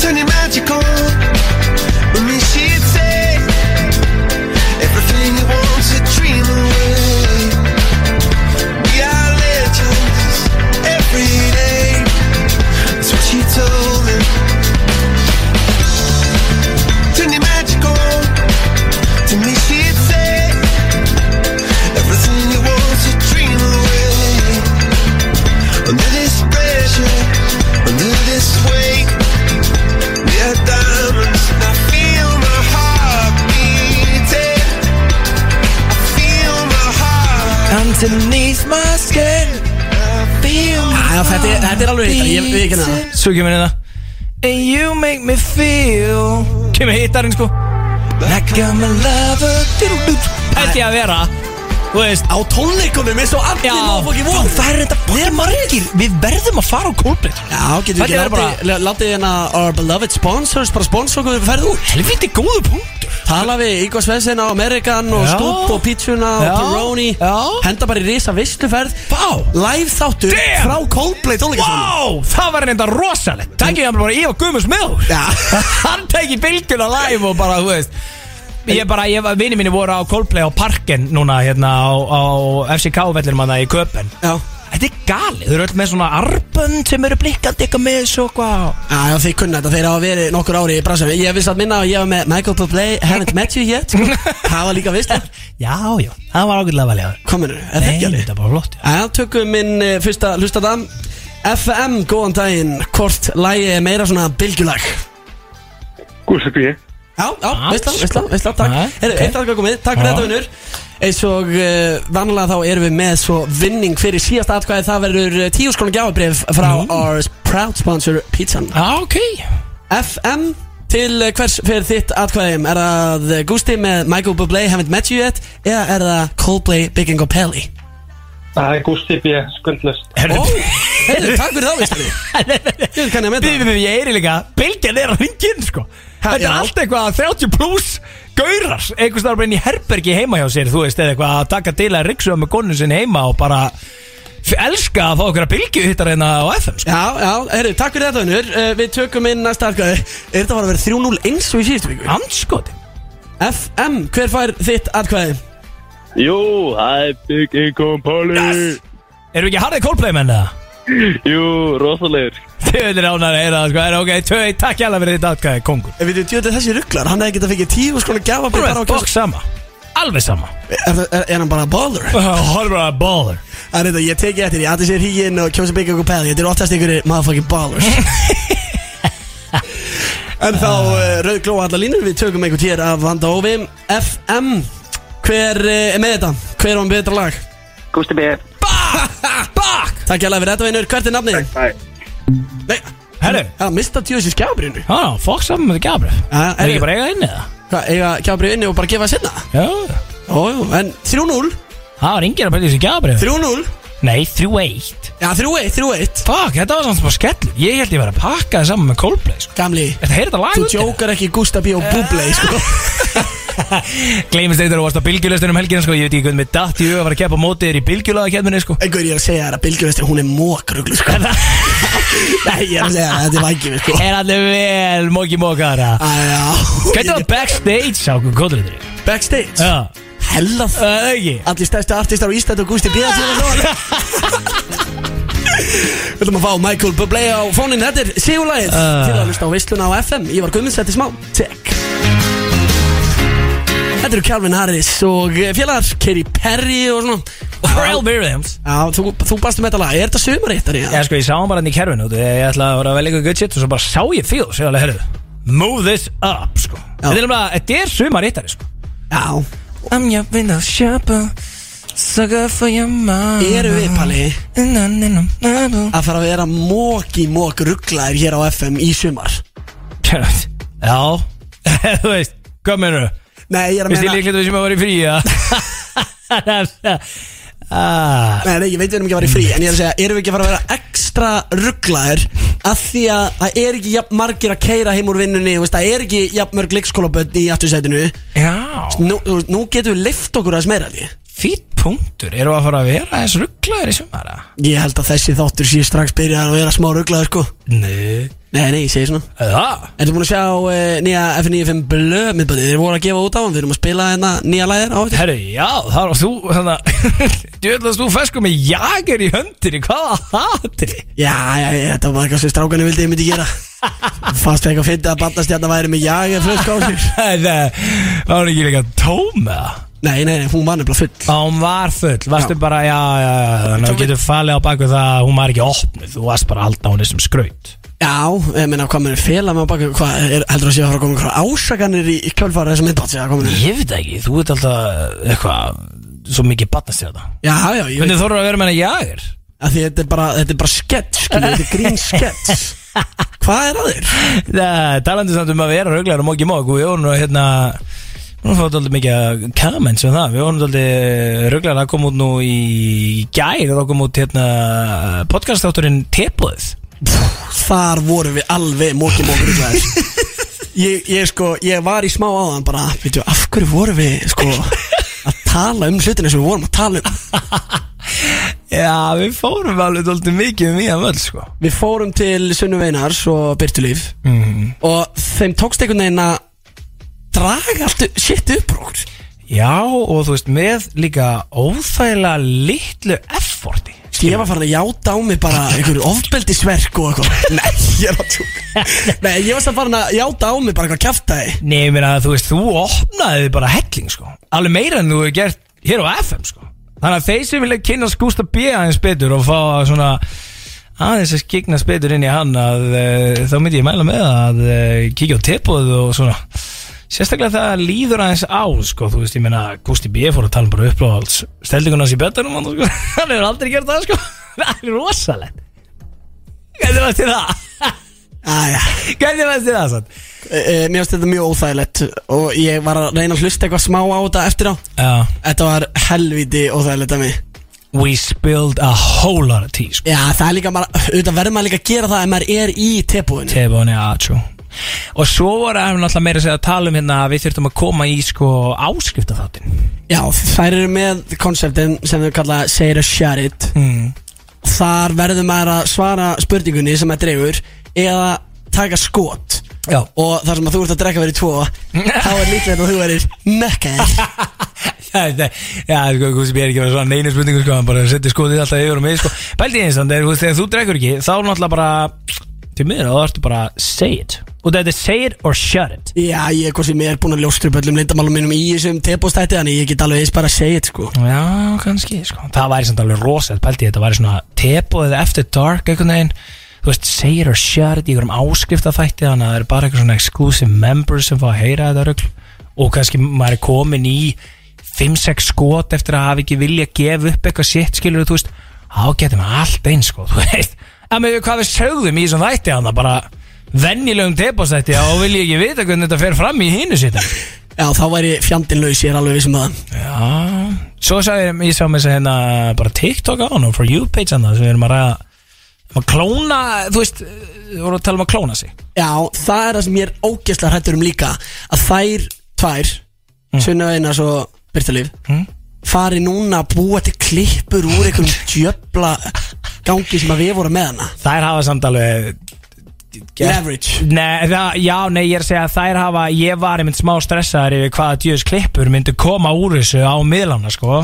G: turn it magical. Let me see it say everything you want to dream away. We are legends every day. That's what she told me. Turn it magical. Let me see it say everything you want to dream away. Under this pressure, under this weight. Yeah, diamonds. I feel my heart beating. I feel my heart.
B: Underneath my skin
D: Já, þetta, er- þetta er alveg hittar, ég veit ekki hana
B: Svo kemur hérna And you make me feel Kemur hittarinn sko Like I'm a lover Þetta ég að vera Þú veist
D: Á tónleikunum er svo allir náfokki von
B: það er þetta Við erum margir Við verðum að fara á Coldplay
D: Já, getur
B: Þetta
D: við
B: er
D: ekki látið la- Látið hérna our beloved sponsors bara sponsor okkur þegar við ferðum út
B: Helviti góðu punktur
D: Tala við Ígvar Svensson á Amerikan og
B: Já.
D: Scoop og Pizzuna
B: Já.
D: og Pironi
B: Já.
D: Henda bara í risa visluferð
B: Vá
D: Live þáttur
B: Damn.
D: frá Coldplay tónleikastónum
B: Vá, það var reynda rosalegt Tækið hann bara ég og Guðmus Mjór
D: Já.
B: Hann tækið bylgjuna live og bara, þú veist Ég bara, ég, vini mínu voru á Coldplay á Parken núna hérna á, á FCK-vellinum að það í Köpen
D: Já,
B: Þetta er galið, þau eru öll með svona arbönd sem eru blikkandi eitthvað með þessu og hvað
D: já, já, þeir kunna þetta, þeir hafa verið nokkur ári í bransum Ég vissi að minna að ég var með Michael Bublé, Haven't Met You Yet Það var líka vist
B: Já, já, það var ágætlega valjaður
D: Kominur, er það
B: Nei,
D: ekki alveg?
B: þetta er bara flott já.
D: Já, tökum minn uh, fyrsta hlustatam FM, góðan daginn Hvort lægi er meira svona bylgjulag
H: Gústi B.
D: Já, já,
B: Ah,
D: veistla, veistla, veistla, takk
B: Ah,
D: Heyrðu,
B: ok.
D: eitt aðgöð komið, takk fyrir
B: Já.
D: þetta vinnur Eins og uh, vanlega þá erum við með svo vinning fyrir síðasta atkvæði Það verður eh, 10 skrónu gjáabrif frá our proud sponsor Pizzan
B: Já, ok
D: FM til eh, hvers fyrir þitt atkvæðum Er það eh, Gústi með Michael Bublé, Haven't Met You Yet Eða er það Coldplay, Big and Gopelli
H: Það er Gústi B. skuldlust.
D: Ó, heyrðu, takk fyrir þá, veistla Ég veit hvernig að meta
B: Við við við ég heyri líka Bylgjan er að ringin sko
D: Ha,
B: Þetta
D: já.
B: er allt eitthvað 30 pluss Gaurar, einhvers þar bara inn í herbergi heima hjá sér Þú veist, eða eitthvað að taka til að riksuða með konu sinni heima Og bara f- elska að fá okkur að bylgju hittar hérna á FM sko.
D: Já, já, herru, takk fyrir þetta unnur uh, Við tökum inn næsta atkvæði Er þetta bara að vera 3-0 eins og í síðustu viku?
B: Anskoti
D: FM, hver fær þitt atkvæði?
I: Jú, það er Big Income Polly
B: Erum við ekki harðið Coldplay menn eða?
I: Jú, rosalegur
B: Þið vil ránaði heyra það sko Það er ok, tvei, takk hjá fyrir þetta atkvæði, kongur
D: Við veitum, djöðu þessi rugglar, hann hefði getað fengið tíu skona gjafa
B: Þú
D: bara
B: er
D: á
B: fokk
D: kjós
B: sama Alveg sama
D: er, er, er hann bara baller?
B: Horfður bara að báður
D: Það er þetta, ég teki eftir, ég aðeins er híinn og kjósi byggja okkur peði Þetta er oftast ykkur motherfucking ballers En þá uh, rauð glóa allar línur, við tökum einhvern tíðar af Vanda Óvi FM, hver uh, er með þetta? Hver á um betra lag?
J: Gústi B.
B: Bakk
D: Takk hjá fyrir þetta vinnur, hvert er nafnið? Nei,
B: Herru,
D: Já, mista tjóðis í skjábrinu
B: já, fokk saman með Gabriel
D: Já,
B: Ah, Er
D: herru.
B: ekki bara að eiga inn eða?
D: Hvað, eiga skjábrinu inni og bara gefa sinna?
B: Já
D: Ójú, en 3-0
B: Það var enginn að pælja þessi Gabriel
D: 3-0
B: Nei, 3-1
D: Já, 3-1, 3-1
B: Fuck, þetta var samt bara skell Ég held ég var að pakka það saman með Coldplay sko.
D: Gamli,
B: Þetta heyrði þetta lag
D: þú
B: undir?
D: jókar ekki Gústa B. og Bublé, sko
B: Gleimist eitthvað og varst á bylgjulöstunum helgina sko. Ég veit ekki hvernig með datt í huga að fara að keppa á mótið þér í bylgjulöðakefninu sko.
D: Einhver, ég er að segja þér að Bilgjörnstri, hún er mókruglu, sko Nei, ég er að segja þér að þetta er vækjum, sko
B: Er allir vel móki mókar
D: Æ, já
B: Hvernig var
D: Ég-
B: backstage á kóðlöðri?
D: Backstage
B: Já,
D: Hellað
B: það er Uh, ekki
D: Allir stærstu artistar á Ísland og Gústi B. að þér að ætlum að fá Michael Bublé á fónin Þetta er sigurlægið
B: Ah.
D: Þið er að hlusta á veisluna á FM Ég var Guðmunds, þetta er smá Check Þetta eru Calvin Harris og eh, félagar Kerry Perry og svona
B: Pharrell Williams
D: Já, þú, þú bastum þetta lag, er þetta sumarréttari?
B: Já sko, ég sá hann bara hann í kerfinu þú veist, Ég ætlaði að vera að velja eitthvað good shit Og svo bara sá ég fíl Sér alveg, herðu Move this up, sko
D: Já.
B: Þetta er bara, þetta er sumaréttari, sko
D: Já,
B: I'm your window shopper Sucker for your mom
D: eru við, Palli,
B: Palli
D: að fara að vera móki mók rugglaðir hér á FM í sumar?
B: Já Þú veist, hvað mennur
D: Nei, ég er að
B: Vist ég
D: meina,
B: líklegt að við sem að vera í frí eða? Ah,
D: nei, nei, ég veit við erum ekki að fara í frí En ég er að segja, erum við ekki að fara að vera ekstra rugglaðir Af því að það er ekki jafn margir að keira heim úr vinnunni þú veist, Það er ekki jafn mörg leikskólabönd í aftursætinu
B: Já
D: Nú, þú veist, nú getum við lift okkur að meira því
B: Fýtt punktur, eru að fara að vera eins rugglaður í sumara?
D: Ég held að þessi þáttur sé strax byrjar að vera smá rugglaðir sko
B: Nei
D: Nei, nei, ég segi svona
B: Það?
D: Ertu búin að sjá uh, nýja F95 Blö miðbæði? Þeir voru að gefa út á hann, við erum að spila hérna nýja læðir á þetta
B: Herru, já, það var þú þannig að Djöðlast þú fesku með jager í höndinni Hvaða hatri?
D: Já, já, já, þetta var eitthvað sem strákanu vildi ég myndi gera Fannst það eitthvað fyndið að bandastjarna væri með jager flösk á sig
B: Það það var ekki líka tóm eða?
D: Nei, nei, nei, hún var nefnilega full
B: Já, hún var full, varstu
D: Já.
B: bara, já, já, já Þannig að þú getur falið á baku það að hún var ekki opnuð Þú varst bara að halda hún þessum skraut
D: Já, ég meina, hvað mér fela með á baka Hvað, er, heldur það að sé að fara að koma einhverja ásakanir í, í kjölfara þessum myndbátt Já,
B: Ég veit það ekki, þú veit alltaf eitthvað Svo mikið batnast þér þetta
D: já, ég veit
B: Hvernig þorður að vera með henni jager?
D: að því þetta er bara, þetta er bara skets, skilur, þetta er grín skets Hvað er að þér?
B: Nei, talandi samt um að vera rauglegar og móki mók og við vorum nú hérna við vorum fáið alltaf mikið comments um það við vorum alltaf rauglegar að koma út nú í gær og þá kom út hérna podcastátturinn Tepluð
D: Þar vorum við alveg móki móki rúklaðir ég, ég sko, ég var í smá áðan bara, veitu, af hverju vorum við sko að tala um hlutina sem við vorum að tala um
B: Já, við fórum alveg alltaf mikið um í að völd sko
D: Við fórum til Sunnu Veinars og Byrtu Líf
B: mm.
D: og þeim tókst einhvern veginn að draga allt u- shit upp úr okkur.
B: Já, og þú veist, með líka óþægilega litlu efforti
D: Sko, Ég var farin að játa á mig bara einhverju ofbeldisverk og eitthvað Nei, ég er að tjóka Nei, ég var samt farin að játa á mig bara eitthvað kjaftaði
B: Nei, ég meina, þú veist, þú opnaði bara helling sko alveg meira en þú hefur gert hér á FM sko Þannig að þeir sem vilja kynast Gústa B aðeins betur og fá svona aðeins að skikna betur inn í hann að uh, þá myndi ég mæla með að uh, kíkja á tepoð og svona Sérstaklega það líður aðeins á sko, þú veist, ég meina Gústi B fór að tala um bara uppláðals stelningunas í betanum hann sko, hann hefur aldrei gert það sko Það er rosalegt Hvernig varst þið það?
D: Æja
B: Hvernig varst þið það sann?
D: e, Mér finnst þetta mjög óþægilegt og ég var að reyna að hlusta eitthvað smá á þetta eftir á
B: Já
D: Þetta var helviti óþægilegt að mig
B: We spilled a whole lot of tea sko
D: Já, það er líka, bara, auðvitað verður maður líka að gera það ef maður er í tebúinu
B: Tebóni, já, true Og svo voru að náttúrulega meira að segja að tala um hérna að við þurftum að koma í sko áskrifta þáttin
D: Já, þær eru með konseptin sem þau kalla Say it or share it
B: mm.
D: Þar verður maður að svara spurningunni sem maður dregur eða taka skot
B: Já
D: og þar sem að þú ert að drekka verið tvo þá er líklega að þú verir nekkaðir
B: Það er, já, sko, þú sem ég er ekki að vera svona neina spurningu sko, hann bara setti skoðið alltaf yfir og mig sko Bældi eins og þegar, þegar þú drekkur ekki, þá náttúrulega bara Til miður, þá ertu bara say it Og þetta er say it or shut it
D: Já, ég er hvort sem ég er búin að ljóstra upp öllum lindamálum mínum í þessum tebústætti þannig ég get alveg eins bara að segja þetta sko
B: Já, kannski, sko Það væri samt alveg rosað, pældi, þetta væri svona teboðið eftir dark einhvern veginn Þú veist, say it or share it í einhverjum áskrifta þætti Þannig að það eru bara eitthvað svona exclusive members sem fá að heyra þetta rögl Og kannski maður er komin í 5-6 skot eftir að hafa ekki vilja að gefa upp eitthvað sitt skilur Þú veist, þá getum við allt eins, sko, þú veist En með hvað við sögðum í þessum þætti hann bara vennilegum teboðstætti og vil ég ekki vita hvernig þetta fer fram í hínu sitt
D: Já, þá væri fjandinn laus, ég er alveg um vissum að
B: Já, Ah, svo sagði ég, ég sá með þess að hérna bara TikTok á hann og for you page hann sem við erum að ræða um að klóna, þú veist, við vorum að tala um að klóna sig
D: Já, það er það sem ég er ógeðslega hrættur um líka að þær tvær mm. Sunna Einars og Birta Líf
B: Mm.
D: fari núna að búa til klippur úr einhverjum djöfla gangi sem að við vorum með hana
B: Þær hafa samt alveg
D: Leverage
B: Nei, það, já, nei, ég er að segja að þær hafa ég var einmitt smá stressaðar yfir hvaða djöðs klippur myndu koma úr þessu á miðlana, sko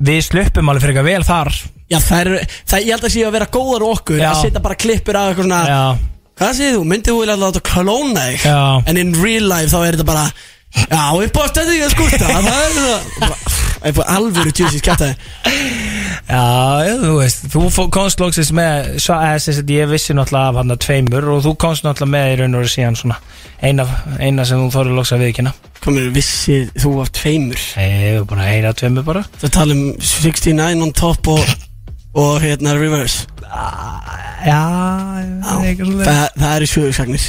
B: við sluppum alveg fyrir vel þar
D: Já, það er, það, ég held að sé að vera góðar okkur
B: Já.
D: að setja bara klippur af eitthvað svona
B: Já,
D: Hvað segir þú? Myndið þú vilja að láta klóna þig?
B: Já.
D: En in real life þá er þetta bara Já, ég bótt þetta ekki að skúta Það er það Ég fór alvöru tjúsi skjáta
B: já, já, þú veist Þú fó- komst loksins með svo, eða, sem sagt, Ég vissi náttúrulega af hann að tveimur Og þú komst náttúrulega með í raun og veru síðan svona Eina, eina sem þú þorður loks að viðkynna
D: Komur vissið þú af tveimur
B: Ég hef bara eina tveimur bara
D: Það tala um 69 on top og, og hérna reverse
B: Já, eitthvað svona
D: Það, það eru sjöðusagnir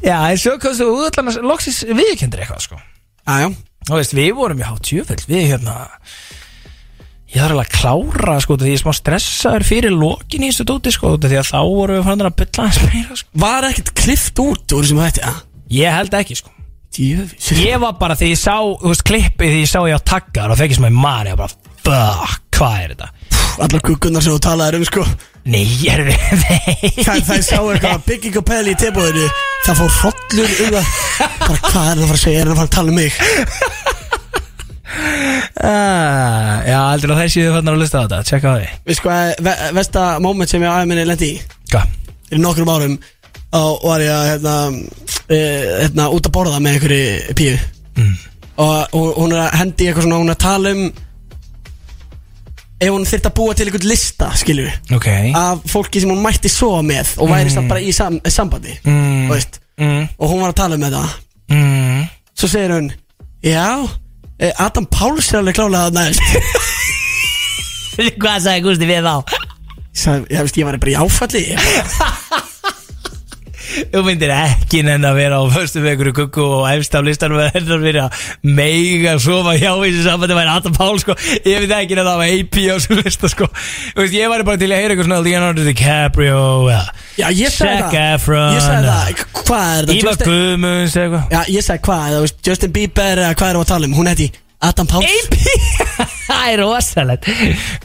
B: Já, en svo komst þú útlann að loksins viðkyndir eitthvað sko
D: Jájá
B: Þú veist, við vorum í hátjöfull Við hérna Ég þarf alveg að klára sko Því ég er smá stressaður fyrir lokin í þessu dóti sko út af Því að þá vorum við farin að bylla hans meira sko
D: Var ekkert klift út úr þessum hætti Ah, að
B: Ég held ekki sko
D: Djöfis
B: Ég var bara því ég sá, þú veist, klippið Því ég sá ég á taggar og fekk ég sem að mani Og bara, fuck, hvað er þetta?
D: Allar kukkunar sem þú talaðir um sko
B: Nei, er við
D: Það, það sá eitthvað að bygging og pæli í tilbúðinu Það fór hrollur um að bara, Hvað er það að fara að segja, er það að fara að tala um mig
B: Ah, Já, heldur að þær séu farin að lusta á þetta Tjekka á því
D: Veist hvað, sko, eh, ve vesta moment sem ég aðeins minni lendi í
B: Hvað?
D: Fyrir nokkrum árum Þá var ég að hérna, e, hérna, út að borða með einhverju píu
B: Mm.
D: og, og hún er að hendi í eitthvað svona Hún er að tala um Ef hún þyrfti að búa til einhvern lista, skilur við
B: Ok
D: Af fólki sem hún mætti svo með Og væri samt bara í sam sambandi
B: Mm.
D: Þú veist,
B: mm,
D: Og hún var að tala um þetta
B: mm.
D: Svo segir hún Já, eh, Adam Páls er alveg klálega að næst
B: Hvað sagði Gústi við þá?
D: Sag, ég, veist, ég var bara í áfalli Ég bara,
B: Þú myndir ekki nenn að vera á föstu með einhverju kukku og efst á listanum að hennar verið að meiga sofa hjá í þessu sambandi væri Adam Pál sko ég veit ekki nenn að hafa AP á þessu lista sko Þú veist, ég væri bara til að heyra eitthvað svona Leonardo DiCaprio ja.
D: Já, ég sagði
B: Zac
D: það
B: Efron,
D: Ég
B: eh,
D: sagði það, k- hvað er það
B: Ívar
D: Justin-
B: Guðmunds eitthvað
D: Já, ég sagði hvað, þú veist, Justin Bieber eða hvað er það að tala um Hún heiti Adam Páls
B: AP Það er rosalegt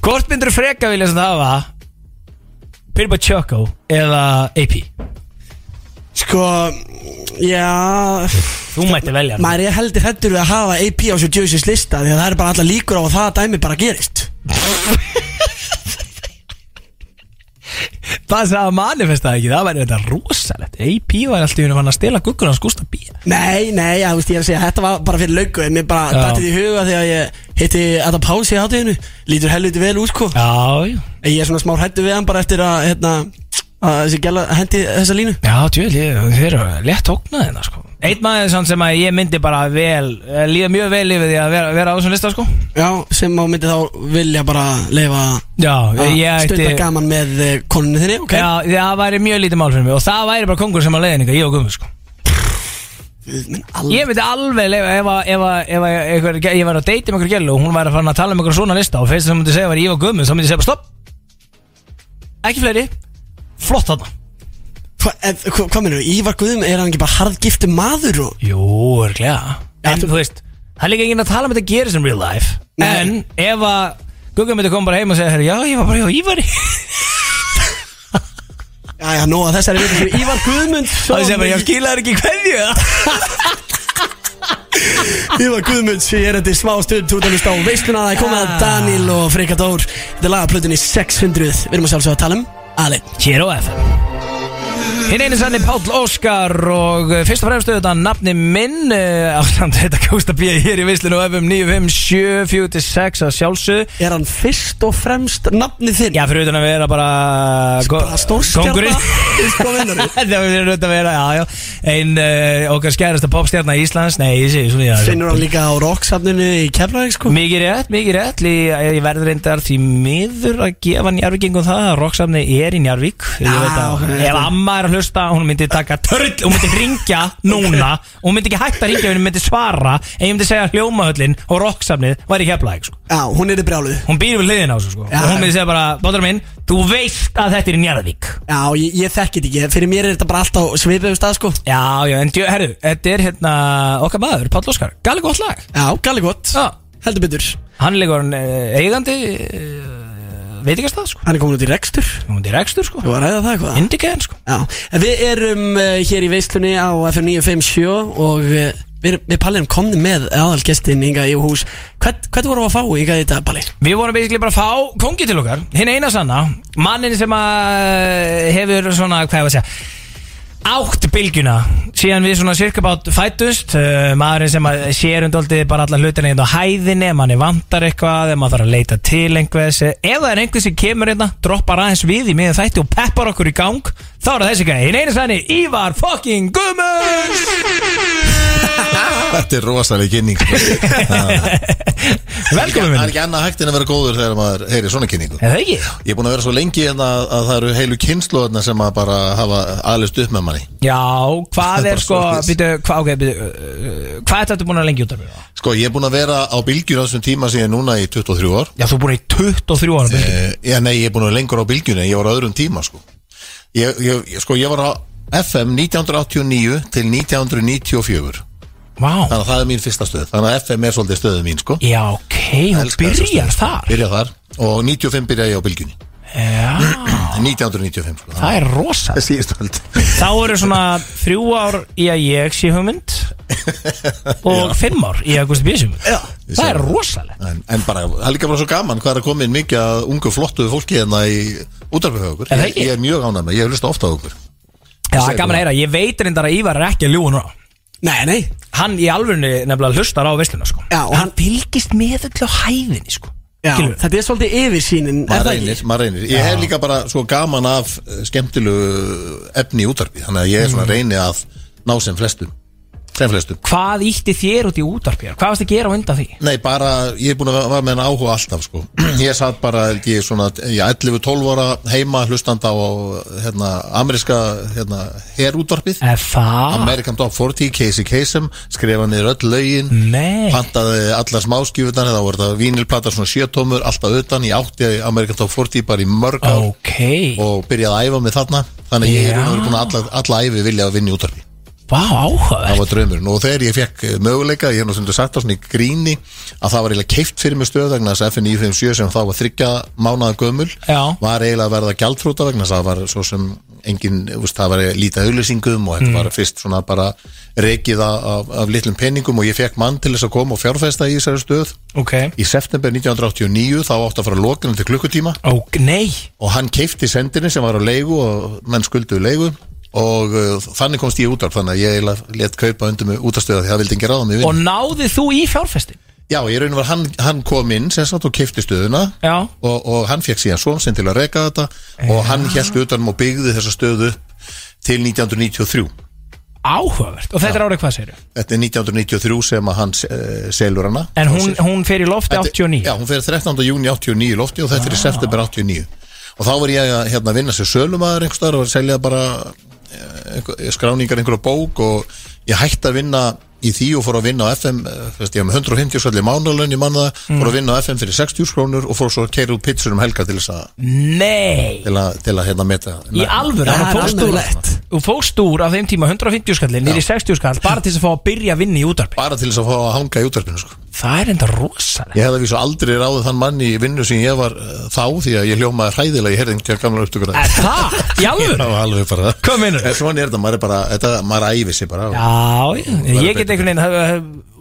B: Hvort myndir freka vilja sem það hafa Pirba Choco eða AP
D: Sko, já
B: Þú mætti velja
D: Maður er heldur hættur við að hafa AP á svo djöfisins lista Því að það er bara allar líkur á að það dæmi bara gerist
B: Það sem að manifestaði ekki, það væri þetta rosalegt AP var alltaf hann að stela gukkur hans Gústa B
D: Nei, nei, já, þú veist, ég er að segja, þetta var bara fyrir löngu En mér bara
B: Já.
D: dættið í huga þegar ég hitti Adam Páls í hátíðinu Lítur helviti vel út, sko
B: Já, já
D: Ég er svona smá hættu við hann bara eftir að, hérna, að þessi gæla hendi þessa línu
B: Já, djöl, ég, þeir eru létt ógnað hérna, sko Eitt maður samt sem að ég myndi bara vel eh, Líða mjög vel yfir því að vera, vera á þessum lista, sko
D: Já, sem á myndi þá vilja bara leifa
B: Já, ég ætti
D: stunda gaman með eh, konunni þinni, ok?
B: Já, það væri mjög lítið mál fyrir mig Og það væri bara kongur sem að leiðninga, ég og gummi, sko
D: Guð minn, alveg
B: Ég myndi alveg leifa ef, að- ef, að- ef, ef, ef einhver, ég væri að deyti með einhver gælu Og hún væri að fara að tala um einhver svona lista Og fyrst sem myndi segja var ég og gummi, þá myndi ég segja bara stopp Ekki fleiri, flott þarna
D: Hva, ef- hva, Hvað minnur, Ívar Guðum, er hann ekki bara harðgiftu maður og
B: Jú, örglega En þú veist, það er líka enginn að tala um þetta gerist in real life
D: Nei.
B: En ef að Gugga myndi koma bara heim og segja "Herra, Já, ég var bara hjá Ívari
D: Já, já, nú að þessari viku fyrir Ívar Guðmund
B: Það segja bara, já, skilaður ekki hverju
D: Ívar Guðmund, ég er þetta í smá stund Þú talast á veisluna það er komið
B: Ah.
D: að Daniel og Freyka Dór Þetta er lagaplutinni 600 Við erum að sjálfsögða að tala um Alin
B: Hér á FM Hinn einu sannig Páll Óskar og eh, fyrst og fremstu þetta nafni minn eh, ásamt þetta kósta bíða hér í vislinu og FM 957 46 að sjálfsög
D: Er hann fyrst og fremst nafni þinn?
B: Já, fyrir utan að vera bara go-
D: bara stórstjarnar
B: kóngurinn.
D: Sko vinnari
B: Það verður auðvitað að vera, já, já Einn uh, okkar skærasta popstjarnar Íslands Nei, ég segi svona já, já.
D: Finnur hann líka á rocksafninu í Keflavík sko
B: Mikið rétt, mikið rétt Lí, eh, Ég verður reyndar því miður að gefa njárvíkingum það að Rokksamni er í njárvík Ég
D: Já,
B: veit að-
D: ok,
B: Ef
D: þetta-
B: amma er að hlusta, hún myndi taka törl Hún myndi ringja núna Hún myndi ekki hægt að ringja, hún myndi svara En ég myndi segja að hljómahöllin og rokksamnið væri í keflaðið sko.
D: Já, hún er í brjáluð
B: Hún býr við hliðin á þessu sko.
D: Já.
B: Og hún myndi segja bara, bátur minn, þú veist að þetta er í njárvík
D: Já, ég, ég þekki þetta ekki Fyrir mér er þetta bara alltaf svipið um stað sko
B: Já, já, en djö- herru, þetta er hérna okkar maður, Páll Óskar, gali gott lag
D: Já, gali gott
B: Já,
D: Heldur betur
B: hann er líka orðinn, eh, eigandi veit ekki að stað sko
D: Hann er komin út í rekstur
B: Hún er rekstur sko
D: Þú var að ræða það eitthvað
B: Indigen sko
D: eh, Já, en við erum uh, hér í veislunni á FM 957 og uh, við, erum- við Palli erum komni með aðalgestin hingað í hús Hvern, hvern vorum við að fá hingað í dag, Palli?
B: Við vorum basically bara að fá kongi til okkar Hinn eina sanna Mannin sem að eh, hefur svona Hvað ég var að segja Átt bylgjuna Síðan við svona cirka bát fættust uh, Maðurinn sem að sér undoldi bara alla hlutina hérna á hæðinni Ef manni vantar eitthvað Ef maður þarf að leita til einhvers eh, Ef það er einhvers sem kemur hérna Droppar aðeins við í miðan þætti og peppar okkur í gang Þá er það þessi gæði Hinn eina sanni Ívar fucking Gummur
C: Þetta er rosalega kynning sko.
B: Velkomin
C: Það
B: minn
C: er ekki annað hægt en að vera góður þegar maður heyri svona kynningu
B: Er það ekki?
C: Ég er búin að vera svo lengi en að, að það eru heilu kynnslóðarna sem að bara hafa aðlist upp með manni
B: Já, hvað
C: Bara
B: er sko
C: svoleiðis.
B: býtu, hva, okay, býtu, uh, Hvað er þetta búin að lengi út af mér?
C: Sko, ég er búin að vera á bylgjur á þessum tíma sem ég er núna í 23 ár
B: Já, þú er búin í 23 ára bylgju
C: uh, Já, nei, ég er búin að vera lengur á bylgjunni en ég var á öðrum tíma, sko Ég, ég, ég- sko, ég var á FM 1989 til 1994
B: Vá,
C: Þannig að það er mín fyrsta stöð Þannig að FM er svolítið stöðu mín, sko
B: já, ok, hún
C: Elska þessa
B: byrjar
C: stöð.
B: þar
C: Byrjar þar Og 95 byrja ég á bylgjunni
B: Já,
C: 1995, sko
B: það er rosa
C: síðust öld
B: Þá eru svona þrjú ár í að ég sé hugmynd Og fimm ár í að Gusti Bísum Já, það er rosalegt
C: en, en bara, það er líka bara svo gaman hvað er að koma inn mikið að ungu flottu fólki hérna í útarfið okkur
B: Er það
C: ég,
B: ekki?
C: ég er mjög ánægð með, ég hef hlusta ofta á okkur
B: Já, það er gaman að heyra, ég veit reyndar að Ívar er ekki að ljúga núna
D: Nei, nei
B: Hann í alvörunni nefnilega hlustar á veisluna, sko
D: Já, og
B: Hann fylgist með öllu á hæðinni, sko
D: Já,
B: Skilurðu?
D: þetta er svolítið yfirsýnin er
C: maður
D: það
C: reynir,
D: ekki?
C: maður reynir ég hef líka bara svo gaman af eh, skemmtilegu efni í útarfið þannig að ég er svona reyni að ná sem flestum sem flestum
B: Hvað ítti þér út í útarpjar? Hvað varst að gera á undan því?
C: Nei, bara, ég er búin að vera- vera með henni áhuga alltaf, sko. Ég satt bara, ekki, svona, ég 11-12 ára heima hlustanda á, hérna, ameríska, hérna, herútvarpið.
B: Eh, Það?
C: American Top 40, Casey Kasem skrifa niður öll lögin
B: Nei.
C: pantaði allar smáskjúfutan þá voru það vínilplata svona sjötómur alltaf utan, ég átti American Top 40 bara í mörg ár
B: Ok,
C: og byrjaði að æfa mig þarna þannig að ég
B: Já.
C: er búin að alla, alla æfi vilja að vinna í útarpi
B: vá áhugavert
C: það var draumurinn og þegar ég fekk eh, möguleika ég hef nú sem þú sagt á svona í gríni að það var eiginlega keift fyrir mig stöð vegna þess að FN957 sem þá var þryggja mánaða gömul
B: Já.
C: var eiginlega að verða gjaldfrúta vegna þess að það var svo sem engin, þú veist, það var lítið auðlýsingum og þetta var fyrst svona bara rekið af, af, af litlum penningum og ég fekk mann til þess að koma og fjárfesta í þessari stöð
B: Ok
C: í september 1989 þá átti að fara lokunum til klukkutíma
B: Ok, nei
C: og hann keifti sendinni sem var á leigu og menn skulduðu leigu og uh, þannig komst ég í útarp þannig að ég eiginlega let kaupa undir mig útastöða því það vildi ekki ráða mig
B: Og
C: vinn
B: náðið þú í fjárfestin?
C: Já, ég raun var hann, hann kom inn sem sagt og keifti stöðuna
B: Já.
C: og, og hann fekk síðan svon sinn til að reka þetta og hann held utanum og byggði þessa stöðu upp til 1993
B: Áhugavert Og þetta er árið hvað segir
C: Þetta er 1993 sem að hann uh, selur hana
B: En hún, hún fer í lofti
C: Þetta-
B: 89
C: Já, hún fyrir 13. júni 89 í lofti og þetta er í september 89 og þá var ég að hérna, vinna sér sölumæður einhvers staðar og var að selja bara eh, einhver- skráningar einhverja bók og ég hætti að vinna í því og fór að vinna á FM eh, þú veist, ég var með 150 skalli mánalögn í mannða
B: Mm.
C: fór að vinna á FM fyrir 60 skrónur og fór svo að keira út pitsur um helga til þess að
B: Nei
C: til að, til að hérna meta
B: Mm. Í alvöru
D: Það
B: hann
D: er
B: fórst úr-
D: almennilegt.
B: Þú fókst úr af þeim tíma 150 skallin Nýri 60 skall Bara til þess að fá að byrja að vinna í útarpi
C: bara til þess að fá að hanga í útverfinu sko.
B: Það er enda rosalega
C: ég hefði að vísa aldrei ráðið þann mann í vinnu sem ég var eh, þá því að ég hljómaði hræðilega í herðing til gamla upptökur
B: Er Það? Í alvöru?
C: Já, alveg bara
B: Hvað meinarðu?
C: En Svona er þetta, maður er bara, þetta, maður æfi sig bara
B: Já, já, ég get einhvern veginn það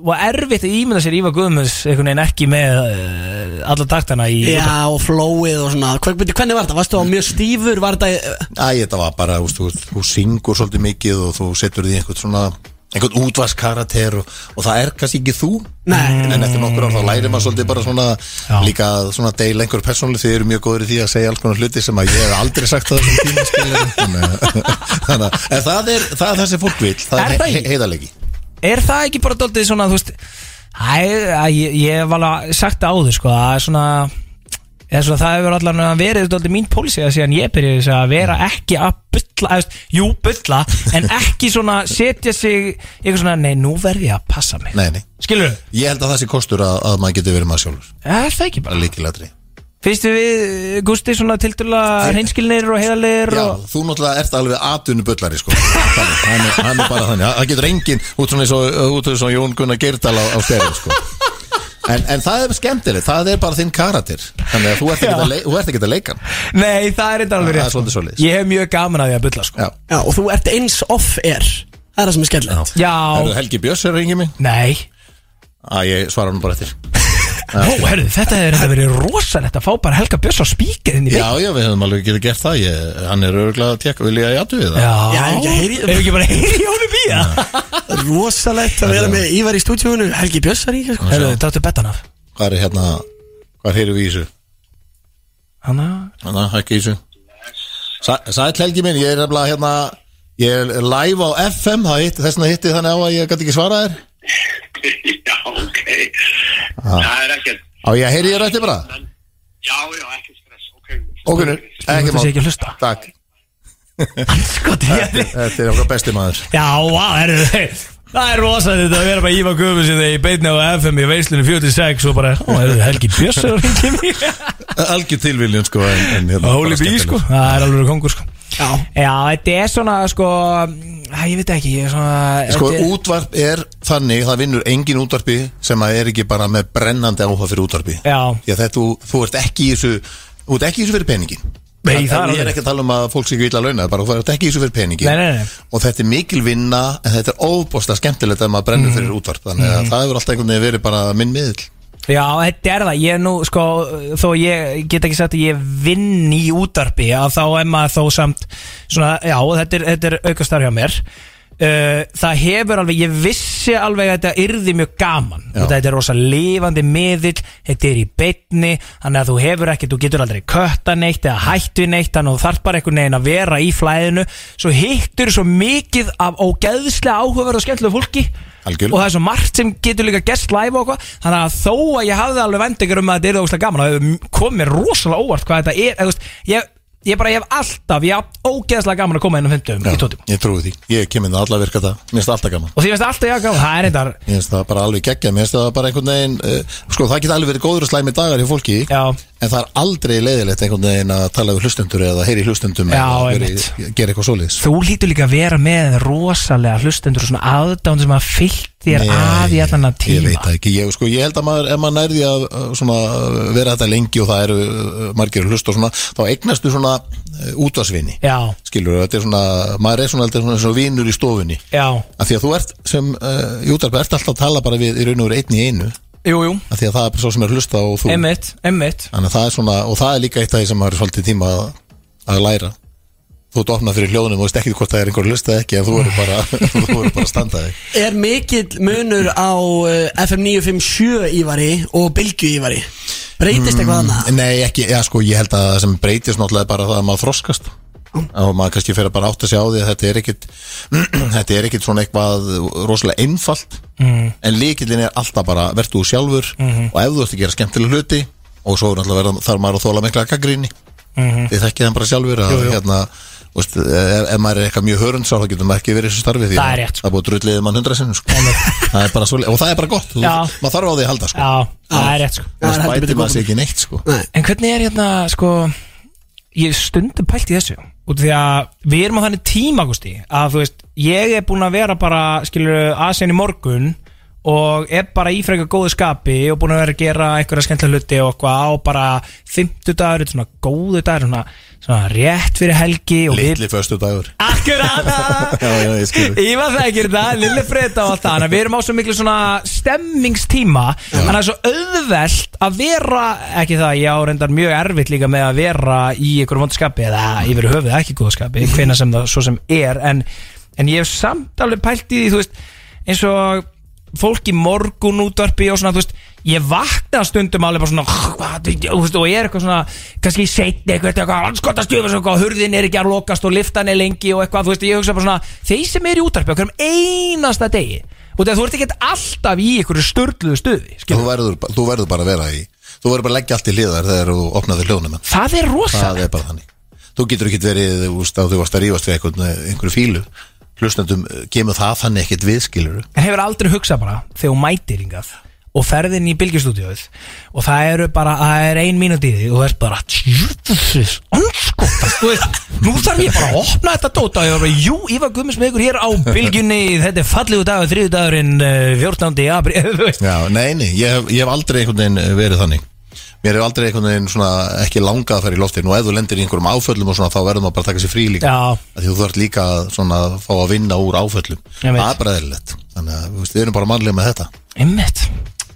B: var erfitt að ímynda sér Ívar Guðmunds einhvern veginn ekki með uh, alla taktana í
D: Já, og flowið og svona Hver- bíddu, Hvernig var þetta? Varstu á mjög stífur? Var þetta
C: Æ, þetta var bara, þú, veist, þú, þú syngur svolítið mikið og þú setur því einhvern svona einhvern útvarskarater og, og það er kannski ekki þú
D: Nei.
C: en eftir nokkur ár þá lærir maður svolítið bara svona líka að svona deila einhver persónuleg þið eru mjög góður í því að segja alls konar hluti sem að ég hef aldrei sagt á þessum tíma skilurðu. Þannig að- þannig að en það er það, er það sem fólk vil, það
B: Er
C: er,
B: það
C: er
B: ekki?
C: heiðalegi
B: Er það ekki bara doldið svona, þú veist Æ, æ, ég, ég hef alveg sagt það áður, sko að svona, eða svona það hefur allan verið doldið mín pólsið síðan ég byrjaði þess að vera ekki að bylla, eða, þú veist, jú, bylla en ekki svona setja sig eitthvað svona, nei, nú verð ég að passa mig
C: Nei, nei,
B: Skilur þau?
C: ég held að það sé kostur að, að maður getur verið maður sjálfur,
B: Er það ekki
C: bara
B: bara?
C: líkilatri
B: Fyrstu við, Gusti, svona tildulega hreinskilnir og heiðalegir
C: Já,
B: og
C: þú náttúrulega ert alveg atvinnubullari sko. þannig, hann, er, hann er bara þannig það getur enginn út svona eins og, út eins og Jón Gunnar Geirdal á, á stærið sko. en, en það er skemmtilegt, það er bara þinn karatir þannig að þú ert ekki að, leik, þú ert ekkert að leika hann.
B: Nei, það er þetta alveg
C: Það er
B: rétt sko.
C: svolítið svoleiðis.
B: Ég hef mjög gaman að því að bylla, sko
C: Já.
D: Já, og þú ert eins off-air Það er það sem er skellilegt
B: Já.
C: Herðu, Helgi Björns er að ringið mig
B: Nei
C: Að ég svara hann bara eftir
B: Ó, herðu, þetta hefur þetta verið rosalegt að fá bara Helga Björns á spíkerinn í
C: Já, já, við hefum alveg getið gert það ég, Hann er örgulega að tekka vilja að ég aðtöðu það
D: Já,
B: Já,
D: ef ekki að heyri-
B: Ef ekki bara heyri í honum í það
D: Rosalegt að vera með Ívar í stúdíónu Helgi Bjössar í sko.
B: Herðu, dáttu betan af
C: Hvað er hérna, hvað heyrðum við í þessu?
B: Hanna
C: Þannig að ekki í þessu Sæ- Sæll Helgi minn, ég er nefnilega hérna Ég er live á FM það hitti, Þess vegna hitti ég þannig á að ég gæti ekki svara þér
J: Já, ok. Það er ekkert.
C: Ah. Á ég að heyri ég rætti bara
J: Já, já, ekkert stress. Ok.
C: Ok, nú, ekki
B: Þetta sé
C: mál
B: ekki að hlusta
C: Takk,
B: Skot, Sko, ég
C: þetta er okkar besti maður
B: Já, vá, herðu Það er rosalegt þetta að vera bara Ívar Guðmunds í þegar ég beitna á FM í veislunni 46 og bara, ó, herðu, Helgi Björns er að ringa í mig
C: Algjör tilviljun sko en, en, hérna,
B: Hóli
C: bara
B: bí,
C: skemmtilegt.
B: sko Það er alveg kongur, sko
D: Já,
B: Já, þetta er svona, sko Æ, ég veit ekki, ég er svona
C: Sko,
B: þetta er-
C: útvarp er þannig, það vinnur engin útvarpi sem að er ekki bara með brennandi áhuga fyrir útvarpi.
B: Já.
C: Því að þetta, þú, þú ert ekki í þessu, þú ert ekki í þessu fyrir peningin.
B: Nei, það er
C: Ég er
B: alveg
C: ekki að tala um að fólk sé ekki vilja að launa, bara þú ert ekki í þessu fyrir peningin.
B: Nei, nei, nei.
C: Og þetta er mikil vinna, en þetta er óbósta skemmtilegt að maður brennur
B: Mhm.
C: fyrir útvarp, þannig að það hefur alltaf einhvern veginn verið bara minn miðl.
B: Já, þetta er það, ég er nú, sko, þó ég get ekki sagt að ég vinn í útarpi að þá er maður þó samt svona, já, þetta er, þetta er aukastar hjá mér uh, Það hefur alveg, ég vissi alveg að þetta yrði mjög gaman
C: Já.
B: og þetta er rosa lifandi miðill, þetta er í beinni þannig að þú hefur ekki, þú getur aldrei kötta neitt eða hættu neitt, þannig að þú þarf bara einhvern veginn að vera í flæðinu svo hittur svo mikið af ógeðslega áhugaverð og skemmtilega fólki
C: Algjörlega.
B: og það er svo margt sem getur líka gerst live og eitthvað þannig að þó að ég hafði alveg vendingar um að þetta er ógeðslega gaman og það kom mér rosalega óvart hvað þetta er eða, þú veist, ég, ég bara, ég hef alltaf, ég haf ógeðslega gaman að koma inn á 50 í tóttum
C: ég trúi því. Ég kem inn að alla virka það, mér finnst það alltaf gaman.
B: og því finnst alltaf ég að gaman, það er reyndar
C: Mér finnst það bara alveg geggja, mér finnst það bara einhvern veginn uh, Sko það geta alveg verið góður og slæmi dagar hjá fólki
B: Já.
C: En það er aldrei leiðilegt einhvern veginn að tala við hlustundur Eða heyri hlustundum
B: Já,
C: eða vera í-
B: einmitt.
C: gera eitthvað svoleiðis
B: þú lítur líka að vera með rosalega hlustendur og svona aðdán sem að fyllt þér að í allan að
C: Ég veit
B: tíma
C: það ekki, ég, sko, ég held að maður, ef maður nærði að uh, svona, uh, vera þetta lengi og það eru uh, margir hlust og svona, þá eignastu svona uh, útvarsvinni
B: Já,
C: Skilur, þetta er svona, maður er svona, þetta er svona, svona vinur í stofunni
B: já,
C: Af því að þú ert sem, uh, Júdarp, ert alltaf að tala bara við í raun og veru einn í einu
B: jú, jú,
C: Af því að það er bara svo sem er að hlusta og þú
B: einmitt, einmitt
C: Þannig að það er svona, og það er líka eitt af því sem maður er svolítið tíma að, að læra Þú ert opnað fyrir hljóðunum og veist ekki hvort það er einhver lust eða ekki en þú eru bara, þú eru bara að standa þig
D: Er mikill munur á uh, FM 957 Ívari og Bylgju Ívari? Breytist eitthvað annað?
C: Nei, ekki, já sko, ég held að það sem breytist náttúrulega er bara það að maður þroskast og maður kannski fer að bara átta sig á því að þetta er ekkit þetta er ekkit svona eitthvað rosalega einfalt
B: Mhm.
C: en líkillin er alltaf bara, verður þú sjálfur og ef þú ert að gera skemmtilega hluti og svo er náttúrulega verða, þarf maður að þóla mikla gaggrinni
B: Mhm.
C: þið þekkið hann bara sjálfur að hérna þú Veist, e, ef, ef maður er eitthvað mjög hörundsá þá getur maður ekki verið í þessu starfi því
B: Það er
C: að
B: rétt, sko.
C: það er búið drulliðið mann hundra sinnum sko. Það er bara svoleið- og það er bara gott, þú,
B: Já.
C: maður þarf á því að halda sko.
B: Já, það er rétt sko
D: Það er
C: það
D: heldur
C: bæti
D: betur
C: maður sér ekki neitt sko.
D: Nei,
B: En hvernig er hérna, sko Ég hef stundum pælt í þessu Út af því að við erum á þannig tíma, Gusti Að þú veist, ég er búin að vera bara Skilur aðsinn í morgun Og er bara í frekar góðu skapi Og búin að vera að gera einhverja skemmtilega hluti Og eitthvað á bara fimmtudagur Svona góðu dagur, svona, svona rétt fyrir helgi og við-
C: litli föstu dagur
B: Akkurat
C: Já, já, ég skil.
B: Ívar þekkir það, Lilli Freyta og allt það Þannig að við erum á svo miklu svona stemmingstíma Þannig að það er svo auðvelt að vera Ekki það, ég á reyndar mjög erfitt líka með að vera í ykkur vondskapi Eða yfir höfuð ekki góða skapi
C: Mhm.
B: Hvena sem það svo sem er En, en ég hef samt alveg pælt í því, þú veist Eins og fólk í morgun útvarpi og svona, þú veist ég vakna stundum alveg bara svona hvað, þú veist, og ég er eitthvað svona kannski setni eitthvað, eitthvað, anskotastjöf og eitthvað, hurðin er ekki að lokast og liftan er lengi og eitthvað, þú veist, ég hugsa bara svona þeir sem eru í útvarpi á hverjum einasta degi og þegar þú ert ekkert alltaf í einhverju störluðu stuði,
C: þú
B: skilur
C: verður, þú verður bara að vera í þú verður bara að leggja allt í hliðar þegar þú opnaði hljónum
B: það er
C: það
B: rosa
C: er bara þannig þú getur ekkit verið úst, að þú varst að rífast við einhvern, einhverju fílu hlustandum eh, kemur það þannig ekkit viðskilur
B: en hefur aldrei hugsað bara þegar þú mætir hingað og ferðin í bylgjustúdíóið og það eru bara, það er ein mínúti í því og það er bara, tjúðsins anskotast, þú veist, nú þarf ég bara að opna þetta dóta og ég er bara, jú, Ívar Guðmunds með ykkur hér á bylgjunni, þetta er fallegu dagur þriðu dagurinn, eh, 14. apríl þú veist,
C: já, nei, nei, ég hef, ég hef aldrei einhvern veginn eh, verið þannig mér er aldrei einhvern veginn svona ekki langað að fara í loftin og ef þú lendir í einhverjum áföllum og svona þá verður maður bara að taka sér frí líka
B: Já.
C: Af því þú þarf líka að svona að fá að vinna úr áföllum
B: Ég veit.
C: það er bara eðlilegt þannig að þú veist, við erum bara mannlega með þetta
B: Einmitt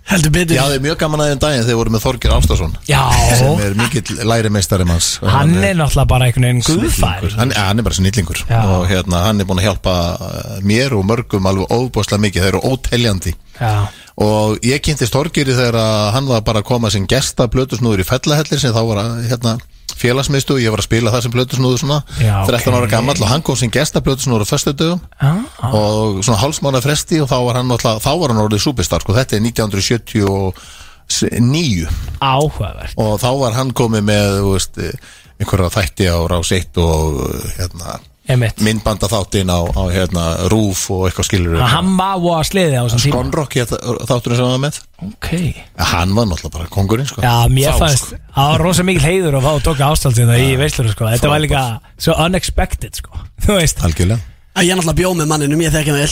D: Heldur betur
C: Já, það er mjög gaman aðeins daginn þegar við vorum með Þorgir Ástason
B: Já.
C: sem er mikill lærimeistari manns
B: Hann er náttúrulega bara einhvern veginn guðfær
C: hann, ja, hann er bara snillingur
B: Já.
C: og hérna, hann er búin að hjálpa eh, mér og mörgum alveg óbúslega mikið þeir eru óteljandi
B: Já,
C: og ég kynntist Þorgiri þegar að hann var bara að koma sem gesta blötusnúður í fellahellir sem þá var að, hérna, félagsmiðstu ég var að spila það sem blötusnúður svona
B: Já,
C: 13
B: ok.
C: ára gamall og hann kom sem gesta blötusnúður á föstudögum
B: já,
C: og svona hálsmána fresti og þá var hann, náttúrulega- þá var hann orðið superstar sko, þetta er 1979
B: áhugavert
C: og þá var hann komið með þú veist, eh, einhverja þætti á rás 1 og hérna,
B: Einmitt
C: myndbanda þáttin á, á hérna, rúf og eitthvað skilur
B: Að Hann var voða sliði á þessum tíma
C: Skonrock hét þátturinn sem hann var með
B: Ok
C: hann var náttúrulega bara kongurinn sko.
B: Já, mér
C: Þá,
B: fannst
C: sko.
B: Það var rosa mikil heiður að fá að tóka ástaldina í veislur sko. Þetta var líka svo unexpected sko. Þú veist
C: algjörlega
D: Æ, Ég er náttúrulega bjóð með manninum, ég þekki hann vel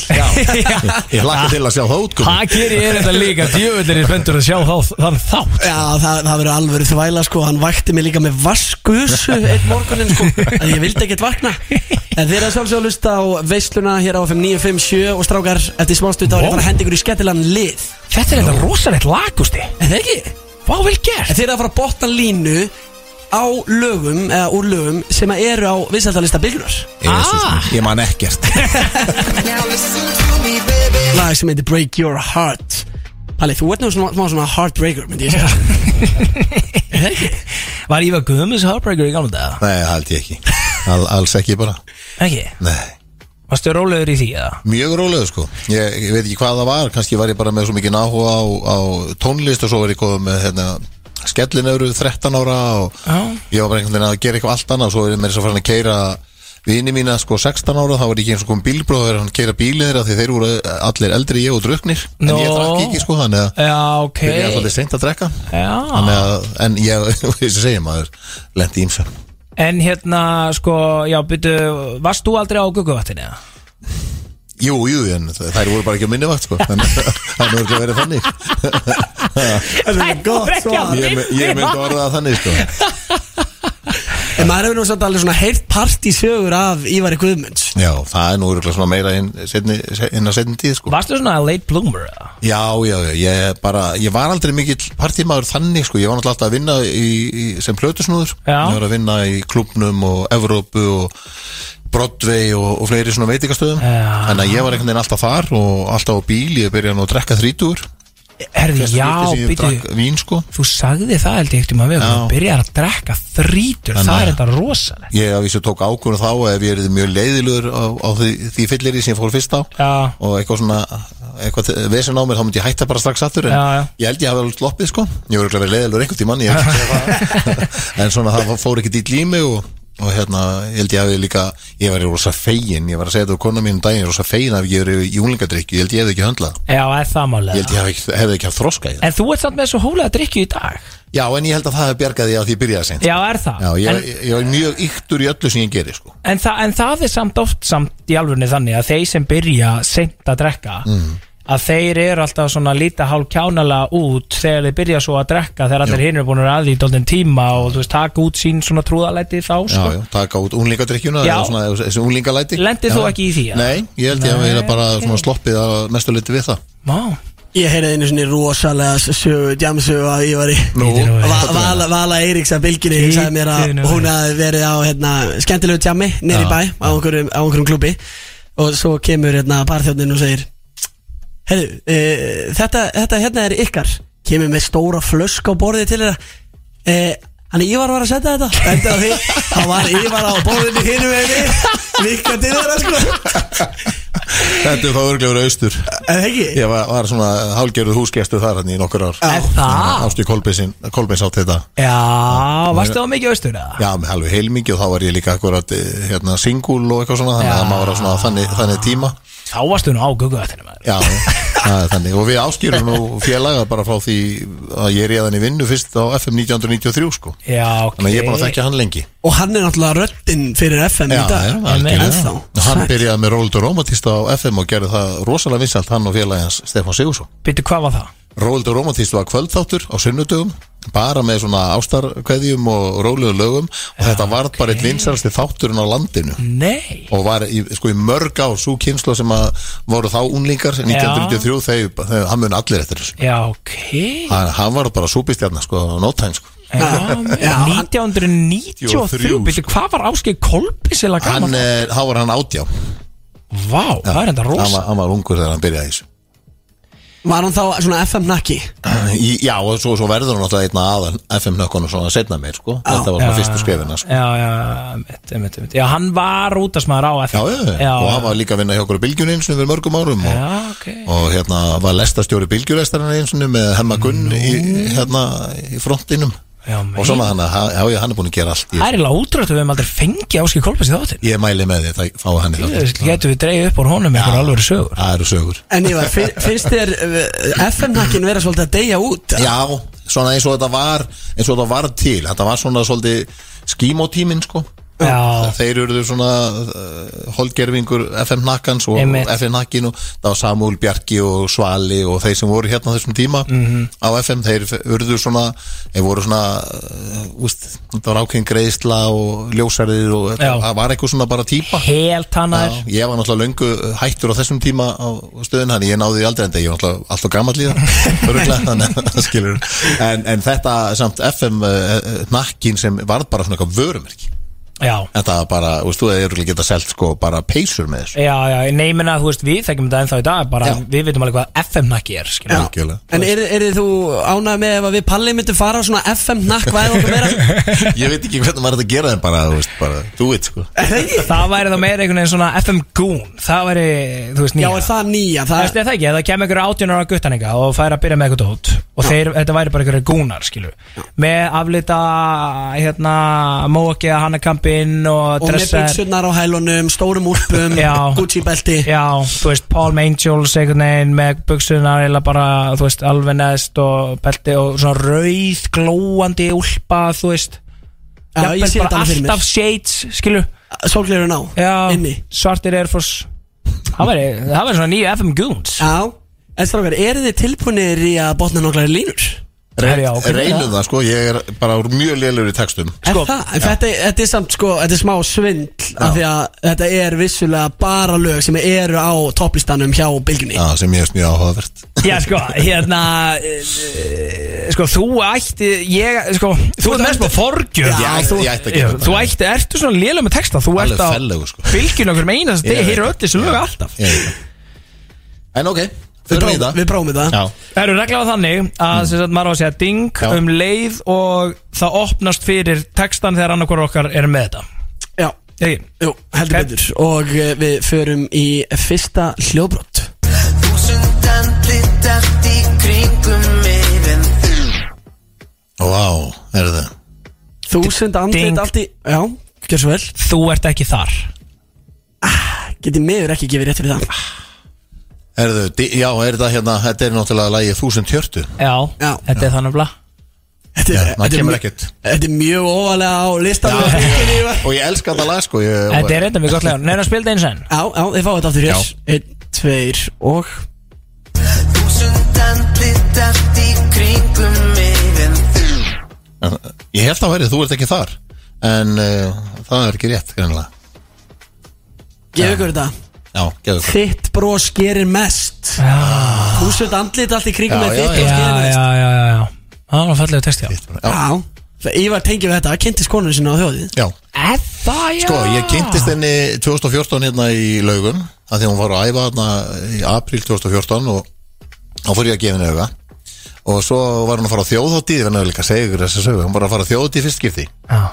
C: ég hlakka til að sjá það útkomi
B: Það gerir ég þetta líka Djöfullir er spöndur að sjá þá, þann þátt
D: Já, það, það verður alveg þvæla sko Hann vakti mig líka með vaskusu Eitt morgunin sko, að ég vildi ekkert vakna En þeir eru að sjálfsög að lusta á veisluna Hér á 5957 og strákar Eftir smástund þá er ég að fara að henda ykkur í skettilann lið
B: Þetta er þetta rosalegt lagusti
D: En þeir ekki?
B: Vá vel
D: En
B: gert
D: þeir eru að fara að botna línu Á lögum, eða úr lögum Sem að eru á vinsældalista bylgunar
C: Jesus,
B: Ah!
C: minn, ég man ekkert
D: Lag sem heitir Break Your Heart Palli, þú ert nú svona, smá svona heartbreaker myndi ég segja Er það ekki?
B: Var Ívar Guðmunds Heartbreaker í gamla daga?
C: nei, það held ég ekki Al, alls ekki bara
B: Ekki
C: nei.
B: Varstu rólegur í því eða?
C: mjög rólega sko ég, ég veit ekki hvað það var, kannski var ég bara með svo mikið náhuga á, á tónlist og svo var ég komið með hérna, skellinöfru 13 ára og
B: Já.
C: ég var bara einhvern veginn að gera eitthvað allt annað og svo er ég með þess að fara að keira vini mína sko 16 ára, þá var ég ekki eins og kom bílbróð að vera hann að keira bílið þeirra því þeir voru allir eldri en ég og druknir en ég
B: Nó.
C: drakk ekki sko þannig að
B: Já, ok
C: Ég er svolítið seint að drekka Þannig
B: Já
C: að, En ég, þess að segja maður Lendi ímsa
B: En hérna, sko, já, byrju Varst þú aldrei á gugguvattinu eða?
C: Jú, jú, en þær voru bara ekki á minni vakt sko Þannig að það voru verið þannig
D: Það er gott
B: ekki á
D: svar.
C: Ég, me- ég myndi orða það þannig sko
D: En maður hefur nú svolítið alveg svona heilt part í sögur af Ívari Guðmunds
C: Já, það er nú örugglega svona meira inn, setni, inn að setni tíð sko
B: Varstu svona late bloomer eða?
C: Já, já, já, ég bara Ég var aldrei mikill partímaður þannig sko Ég var náttúrulega alltaf að vinna í, í, sem plötusnúður
B: Já.
C: Ég var að vinna í klubnum og Evrópu og Broadway og, og fleiri svona veitingastöðum
B: Já.
C: Þannig að ég var einhvern veginn alltaf þar og alltaf á bíl, ég byrjaði nú að drekka þrítúr
B: Herði, já, byrju
C: drakk vín sko
B: Þú sagði það held ég ekkert um að við
C: Já.
B: Þú byrjar að drekka þrítur
C: Þannig
B: Það
C: að-
B: er þetta rosalegt
C: Ég að vísu tók ákvörðu þá ef ég er mjög leiðilugur á, á því, því fyllir sem ég fór fyrst á
B: Já.
C: og eitthvað svona eitthvað vesen á mér þá myndi ég hætta bara strax aftur en
B: Já, já.
C: ég held ég hafi alveg sloppið sko ég voru ekki að vera leiðilugur einhvern tímann ég ekki segja það. en svona það fór ekki dýll í mig og, og hérna ég held ég hafi líka ég var í rosa fegin, ég var að segja þetta á konu mín um daginn, ég er rosa fegin af ég er í júlingadrykju ég held ég hefði ekki höndlað
B: Já, er það
C: ég
B: málega
C: held ég hefði ekki, hefði ekki haft þroska í það
B: En þú ert samt með svo hólega drikju í dag
C: já en ég held að það hefði bjargaði að því ég byrjaði seint
B: Já, er það
C: Já, ég,
B: en,
C: ég, ég var mjög yktur í öllu sem ég geri sko.
B: en, þa en það er samt oft samt í alvörni þannig að þeir sem byrja seint að drekka
C: Mm.
B: að þeir eru alltaf svona líta hálf kjánala út þegar þeir byrja svo að drekka þegar allir hinn eru búin að vera að því dólden tíma og þú veist, taka út sín svona trúðalæti þá
C: Já,
B: sko.
C: já, taka út unglingadrykkjuna
B: Já.
C: eða svona, eða þessi unglingalæti
B: Lendir þú ekki í því, eða?
C: Nei, ég held ég að vera bara svona sloppið að mestu liti við það
B: Vá.
D: Ég heyrði einu svona rosalega sögu, djamsögu af Ívari
C: Nú,
B: Bíddu nú við.
D: Va- Vala, Vala Eiríks að bylginni
B: Bíddu
D: sagði mér að
B: nú.
D: hún hafði verið á hérna, skemmtilegu tjammi nýri
C: Já.
D: bæ á einhverjum, á einhverjum klubi og svo kemur hérna barþjóðnin og segir Herru, e, þetta, þetta hérna er ykkar kemur með stóra flösk á borðið til þeirra e, Hann Ívar var að setja þetta Þetta á því Hann var Ívar á borðinu hinu með mig Vikka til þeirra sko
C: Þetta er þá örglega verið austur
D: En ekki
C: Ég var, var svona hálgerðu húsgestu þar hann í nokkur ár
B: Er það?
C: Ástu Kolbeinsin, Kolbeins átt þetta
B: Já, varstu það mikið austur eða?
C: Já, með alveg heilmikið og þá var ég líka akkurat eh, hérna, singul og eitthvað svona Þannig
B: Já.
C: að maður var á svona þannig, þannig tíma
B: Þá varstu nú á gugguvættinu maður
C: Já, það er þannig Og við áskýrum nú félaga bara frá því að ég er í vinnu fyrst á FM 1993 sko
B: Já, ok
C: Þannig að ég er búin að þekkja hann lengi
D: Og hann er náttúrulega röddinn fyrir FM í
C: Já,
D: dag
C: já,
D: Ennþá.
C: algjörlega. hann
D: Sæll.
C: byrjaði með Róðildur Rómatista á FM og gerði það rosalega vinsalt hann og félagi hans Stefán Sigursson
B: Býttu, hvað var það?
C: Róðildur Rómatista var kvöldþáttur á sunnudögum bara með svona ástarkveðjum og rólegum lögum og þetta varð bara eitt vinsalasti þátturinn á landinu
D: Mm.
B: Nei
C: og var í, sko, í mörg á svo kynslu sem að voru þá unlingar 1993 þegar, þegar hann mun allir eftir þessu
B: Já, ok
C: hann, hann var bara súpistjarnar sko, á nótæn sko.
B: Já, já, 1993
C: sko.
B: Býttu, hvað var Áskeið Kolbis eða
C: hann,
B: gaman?
C: eh, þá var hann átjá
B: Vá, það er enda
C: hann,
B: rosa
C: var- hann var ungur þegar hann byrjaði í þessu
D: Var hann þá svona FM nakki?
C: Í, já, og svo, svo verður hann náttúrulega einna aðal FM-nökkunum svona setna meir sko. þetta var svona fyrstu skrefina sko.
B: Já, já, mitt, mitt, mitt Já, hann var útasmaður á
C: já,
B: FM
C: já, já, og hann var líka að vinna hjá okkur á Bylgjunni eins og fyrir mörgum árum og,
B: Já, ok
C: og hérna var lestastjóri Bylgjulestarinn eins og með Hemma Gunn í, hérna í frontinum
B: Já,
C: og
B: meit
C: svona hann, að- já, já, hann er búin að gera allt
B: Það
C: í
B: er eiginlega útrúlegt að við hefum aldrei fengið Áskeið Kolbis í þáttinn
C: Ég mæli með því að fá hann í þátt
B: Getum við dreigð upp úr honum eitthvað alveg sögur
C: Það eru sögur
D: En ég var, finnst þér eh, FM nakkin vera svolítið að deyja út?
C: Já, svona eins og þetta var eins og þetta var til, þetta var svona svolítið skímótíminn sko
B: Já,
C: Þeir eru svona uh, holdgerfingur FM Nakkans og
B: Einmitt.
C: FM Nakkin og það var Samúl Bjarki og Svali og þeir sem voru hérna á þessum tíma
B: Mhm.
C: á FM, þeir urðu svona þeir voru svona uh, úst, það var ákveðin greiðsla og ljósarðir og
B: Já.
C: þetta, það var eitthvað svona bara típa
B: helt hann
C: Já, ég var náttúrulega löngu eh, hættur á þessum tíma á stöðun hann, ég náði því aldrei en ég var náttúrulega alltaf gammal í það örugglega, þannig að það skilur en, en þetta samt FM uh, nakkin sem varð bara svona eitthvað vörumerki
B: Já
C: þetta var bara, veist þú, það eru geta selt sko bara peysur með þessu
B: Já, já, nei, menna, þú veist, við þekkjum þetta ennþá í dag bara,
C: Já.
B: við veitum alveg hvað FM-nakki er, skilja
C: Algjörlega.
D: En er, er þú ánað með ef að við Palli myndum fara á svona FM nakk væðið okkur meira?
C: ég veit ekki hvernig maður þetta gera en bara, þú veist, bara do it sko
B: Það væri þá meira einhvern veginn svona FM Goon Það væri, þú veist,
D: Já,
B: nýja
D: er það nýja?
B: Það
D: Það
B: veist, er það ekki, ef það kemur einhverja átjónar á guttaninga og fær að byrja með eitthvað út og þeir, þetta væri bara einhverja gúnar, skilu með aflita, hérna Móki að hannakampinn og
D: Og með
B: dressar
D: byggsurnar á hælunum, stórum úlpum,
B: Já.
D: Gucci belti
B: Já, þú veist, Paul Mangels einhvern veginn með buksunar eða bara, þú veist, alveg neðst og belti og svona rauð glóandi úlpa, þú veist
D: Já, ég
B: jafnvel
D: sé þetta
B: bara
D: alveg fyrir
B: alltaf
D: mér
B: shades, skilu
D: Sólglerun á,
B: Já,
D: inni
B: svartir Air Force Það væri, það væri svona nýju FM Goons
D: Já, en strákar, eru þið tilbúinir í að botna nokklar línur?
B: Herri, já, ok.
C: reynum það sko, ég er bara úr mjög lélur í textum
D: Sko,
B: Sko,
D: er það? En Þetta, þetta er samt, sko, þetta er smá svindl af því að þetta er vissulega bara lög sem eru á topplistanum hjá bylgjunni
C: já, sem ég er mjög áhugavert
B: Já, sko, hérna e, e, Sko, þú ætti Ég, sko, þú ert mest á forgjörn
C: Já, ég ætti- ég ætti að gera
B: Þú
C: þetta.
B: ætti, ertu svona lélega með texta Þú
C: Alveg
B: ert á
C: ferlegur, sko.
B: fylgjun okkur með einast
C: Ég
B: Þegar
C: veit
B: heyrir
C: það.
B: öll þessu lög
C: Já.
B: alltaf
C: Ég veit það. en ok, fyrir
D: Við
C: í
D: prófum-
C: það
D: Við prófum þetta
C: já,
B: Það eru regla á þannig að sem sagt, maður á að segja ding
C: Já.
B: um leið og það opnast fyrir textan þegar annarkor okkar er með þetta
D: Já,
B: Ekki?
D: jú,
B: Ok.
D: heldur betur Og eh, við förum í fyrsta hljóbrott
G: Þúsund andlit allt í kringum mig En þú
C: vá, er það
D: Þúsund andlit
B: Ding.
D: allt í Já, gjör svo vel
B: Þú ert ekki þar
D: Getið meður ekki gefið rétt fyrir það
C: Erðu, já, er þetta hérna, þetta er náttúrulega lagið 1040
B: Já,
D: Já.
B: þetta er þannig blað
D: Þetta
C: Já,
D: er,
C: maður
D: þetta er
C: kemur
D: mjög-
C: ekkert.
D: Þetta er mjög óvalega á listanum
C: Já.
D: Já,
C: Og ég elska þetta lag, sko ég,
B: Þetta er reynda mjög gott legan Neina spildi eins enn
D: já, þið fáið þetta aftur
C: Já.
D: hér Einn, tveir og
G: Þúsund andlit allt í kringum mig En þú
C: Ég held að verið, þú ert ekki þar En uh, það er ekki rétt, greinlega
D: Gefið ykkur þetta
C: Já, gefðu hvað
D: Þitt bros gerir mest Húsveit andlit allt í kringum
C: Ah. Já,
D: með
C: já,
D: þitt
C: já.
B: Já,
D: bros gerir
B: já,
D: mest
B: já, já, já Það var fallegu texti á
C: Já,
D: Já, það Ívar tengið við þetta, kynntist konunni sinna á þjóðið
C: já,
B: Er það, já
C: sko, ég kynntist henni 2014 hérna í laugum Það því hún var að æfa hérna í april 2014 Og þá fór ég að gefa henni auga Og svo var hún að fara á þjóðhátíð Ég verði náttúrulega að segja ykkur þessa sögu Hún var að fara á þjóðhátíð í fyrst skipti
B: Já.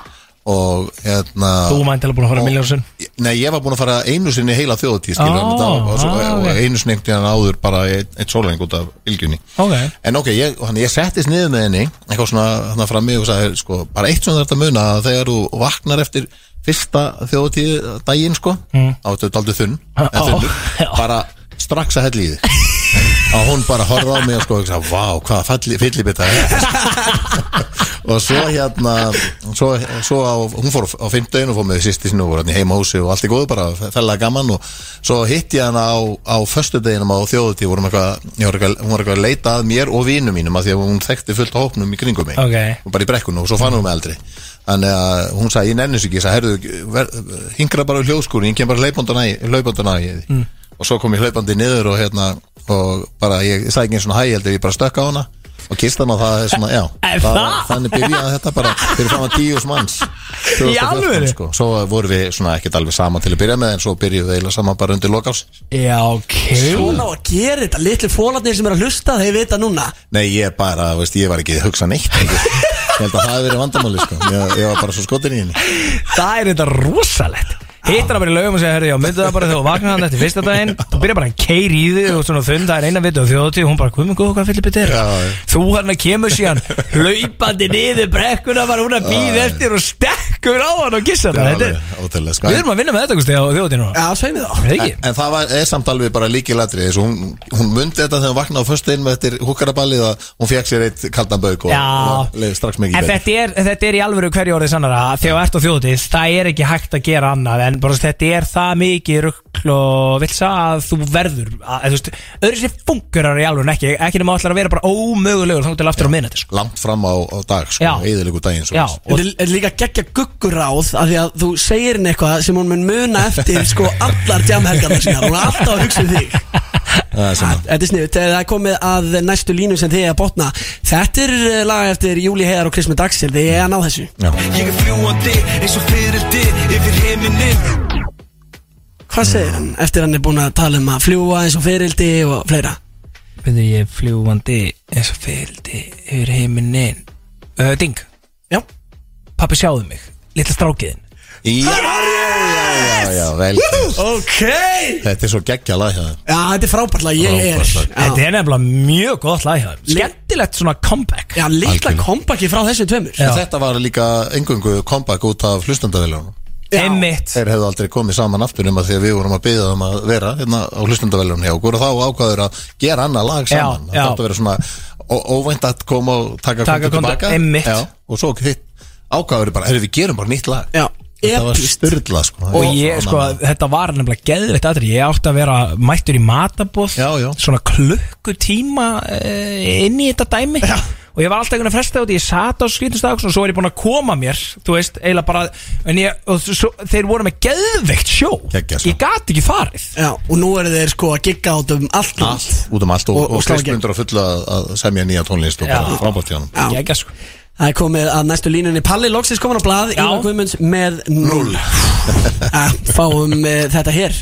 C: Og hérna
B: Þú mæntilega búin að fara
C: Og-
B: miljónsinn
C: Nei, ég var búin að fara einu sinni í heila þjóðatíð
B: Ó,
C: skilur, oh, og, svo,
B: ah,
C: og
B: ok.
C: einu sinni einhvern veginn áður bara eitt, eitt sóleng út af ylgjunni
B: Ok.
C: En ok, ég, hann, ég settist niður með henni eitthvað svona hann frammi og sagði sko, bara eitt svona þetta muna að þegar þú vaknar eftir fyrsta þjóðatíð daginn sko, mm. á þetta er daldið þunn,
B: Ah, ó,
C: eða þunnur
B: já.
C: bara strax að hella í þig að hún bara horfa á mig og sko, og hugsa, vá, hvað falli, fyllibita er þetta?" og svo hérna svo, svo á, hún fór á fimmtudaginn og fór með sýsti sinni og voru hérna í heimahúsi og allt í góðu bara fellega gaman og svo hitt ég hana á, á föstudeginum á þjóðutíð vorum eitthvað, ég var eitthvað, hún var eitthvað að leita að mér og vinum mínum að því að hún þekkti fullt á hópnum í kringum mig
B: Ok.
C: og bara í brekkunum og svo fann hún mig aldrei þannig að hún sagði, ég nennis ekki, ég sagði, herðu hingra bara í hljóðskúrin, ég kem bara hlaupandana í hlaupandana í því
B: Mm.
C: og svo kom ég hlaupandi niður og hérna og bara, ég sagði ekki eins og hæ, ég heldur, ég bara stökk á hana og kist hana og það er svona, já
B: Er
C: það,
B: það?
C: þannig byrjaði þetta bara fyrir saman tíus manns 2014,
B: Í alvöru?
C: sko. svo voru við svona ekkert alveg saman til að byrja með en svo byrjuðum við eiginlega saman bara undir lokás
B: Já, ok
D: Svona á að gera þetta, litlu fólarnir sem er að hlusta þeir vita núna
C: Nei, ég bara, veist, ég var ekki að hugsa neitt ég held að það hefði verið vandamáli sko. ég, ég var bara svo skotin í henni
B: Það er þetta rosalegt Hittar það bara í lögum og segja, herri, já, myndu það bara þegar þú vaknar hann eftir fyrsta daginn Þú byrjar bara að keiri í þig og svona þund Það er eina vitu á þjóðatíð og hún bara, hvað minn góð, hvað fyllir betur
C: Já, já.
B: Þú hann að kemur síðan Hlaupandi niður brekkuna Var hún að býða eftir og stekkur á hann og kissa hann Þetta
C: alveg
B: er-
C: ótrúlega, sko.
B: Við erum að vinna með þetta, Gusti, á þjóðatíð núna
D: Já, sveið við þá
B: Er það ekki?
C: En, en það var, er samt alveg bara líkilatri hún, hún mundi þetta þegar hún vaknaði á föstu inn með eftir húkaraballið að hún fekk sér eitt kaldan bauk og,
B: Já.
C: og leiði strax mikið
B: En
C: betur.
B: þetta er, þetta er í alvöru hverju orðið sannara að Þegar þú ert á þjóðatíð, það er ekki hægt að gera annað En bara, þú veist, þetta er það mikið rugl og vilsa að þú verður að, þú veist, Öðru sér fungurar í alvöru en ekki Ekki nema allar að vera bara ómögulegur þá til aftur á minnet sko.
C: langt fram á, á dag sko,
B: Já.
C: eðilegu daginn svo
B: Já,
C: leiðis.
B: og
D: Þetta er- er líka geggja gugguráð af því að þú segir henni eitthvað sem hún mun muna eftir sko allar jamhelgarna sína hún er alltaf að hugsa um þig
C: Það er svona.
D: Þetta er sniðut, það er komið að næstu línu sem þið er að botna Þetta er eh, lag eftir Júli Heiðar og Krismi Dagsir þið er að ná þessu
C: Já.
G: Ég er fljúandi eins og fyrildi yfir heiminin
D: Hvað segir hann eftir hann er búin að tala um að fljúa eins og fyrildi og fleira
B: Byrðu ég fljúandi eins og fylgdi yfir heiminin uh, Ding,
D: Já,
B: pappi sjáðu mig Lilla strákiðin
C: Já, já, já, já, vel gert.
D: ok
C: Þetta er svo geggja lag hjá það
D: Já, þetta er frábært lag, ég er
C: Frábært lag.
B: Þetta
D: Já,
B: er nefnilega mjög gott lag hjá þeim.
D: Li-
B: Skemmtilegt svona comeback
D: já litla
C: Algjörlega.
D: kompaki frá þessu tveimur
B: Já.
C: Þetta var líka engungu comeback út af hlustendavæljónum
D: Já.
B: Einmitt
C: Þeir hefðu aldrei komið saman aftur nema því að við vorum að byggja um að vera hérna á hlustendavæljónum hjá okkur og þá ákvaður að gera annað lag
B: Já,
C: saman
B: já.
C: Það þátt að vera svona ó- óvænt að koma og taka,
B: Taka
C: kontu
B: kontu,
C: tilbaka
B: einmitt.
C: já, Og svo hitt ákvaður bara, heyrðu við gerum bara nýtt lag
D: Já,
C: Þetta var
D: epískt.
C: styrla sko
B: og ég, sko, þetta var nefnilega geðveitt aðri, ég átti að vera mættur í matabóð
C: Já, já.
B: svona klukkutíma uh, inn í þetta dæmi já. og ég var alltaf einhvern að fresta út, ég sat á skýtnustak og svo er ég búinn að koma mér, þú veist eiginlega bara, en ég, og svo, þeir voru með geðveikt sjó,
C: Geggjað sjó.
B: ég gat ekki farið
D: Já, og nú eru þeir sko að gigga át um allt land
C: Út um allt og,
D: Og-
C: og,
D: og
C: og
D: slá í gegn.
C: Kristmundur á fulla að, að semja nýja tónlist og
B: Já.
C: bara frábært hjá hann
D: Já.
B: Geggjað, sko.
D: Það er komið að næstu línunni Palli Loksins komin á blað,
B: Já.
D: Ívar Guðmunds með 0 Fáum eh, þetta hér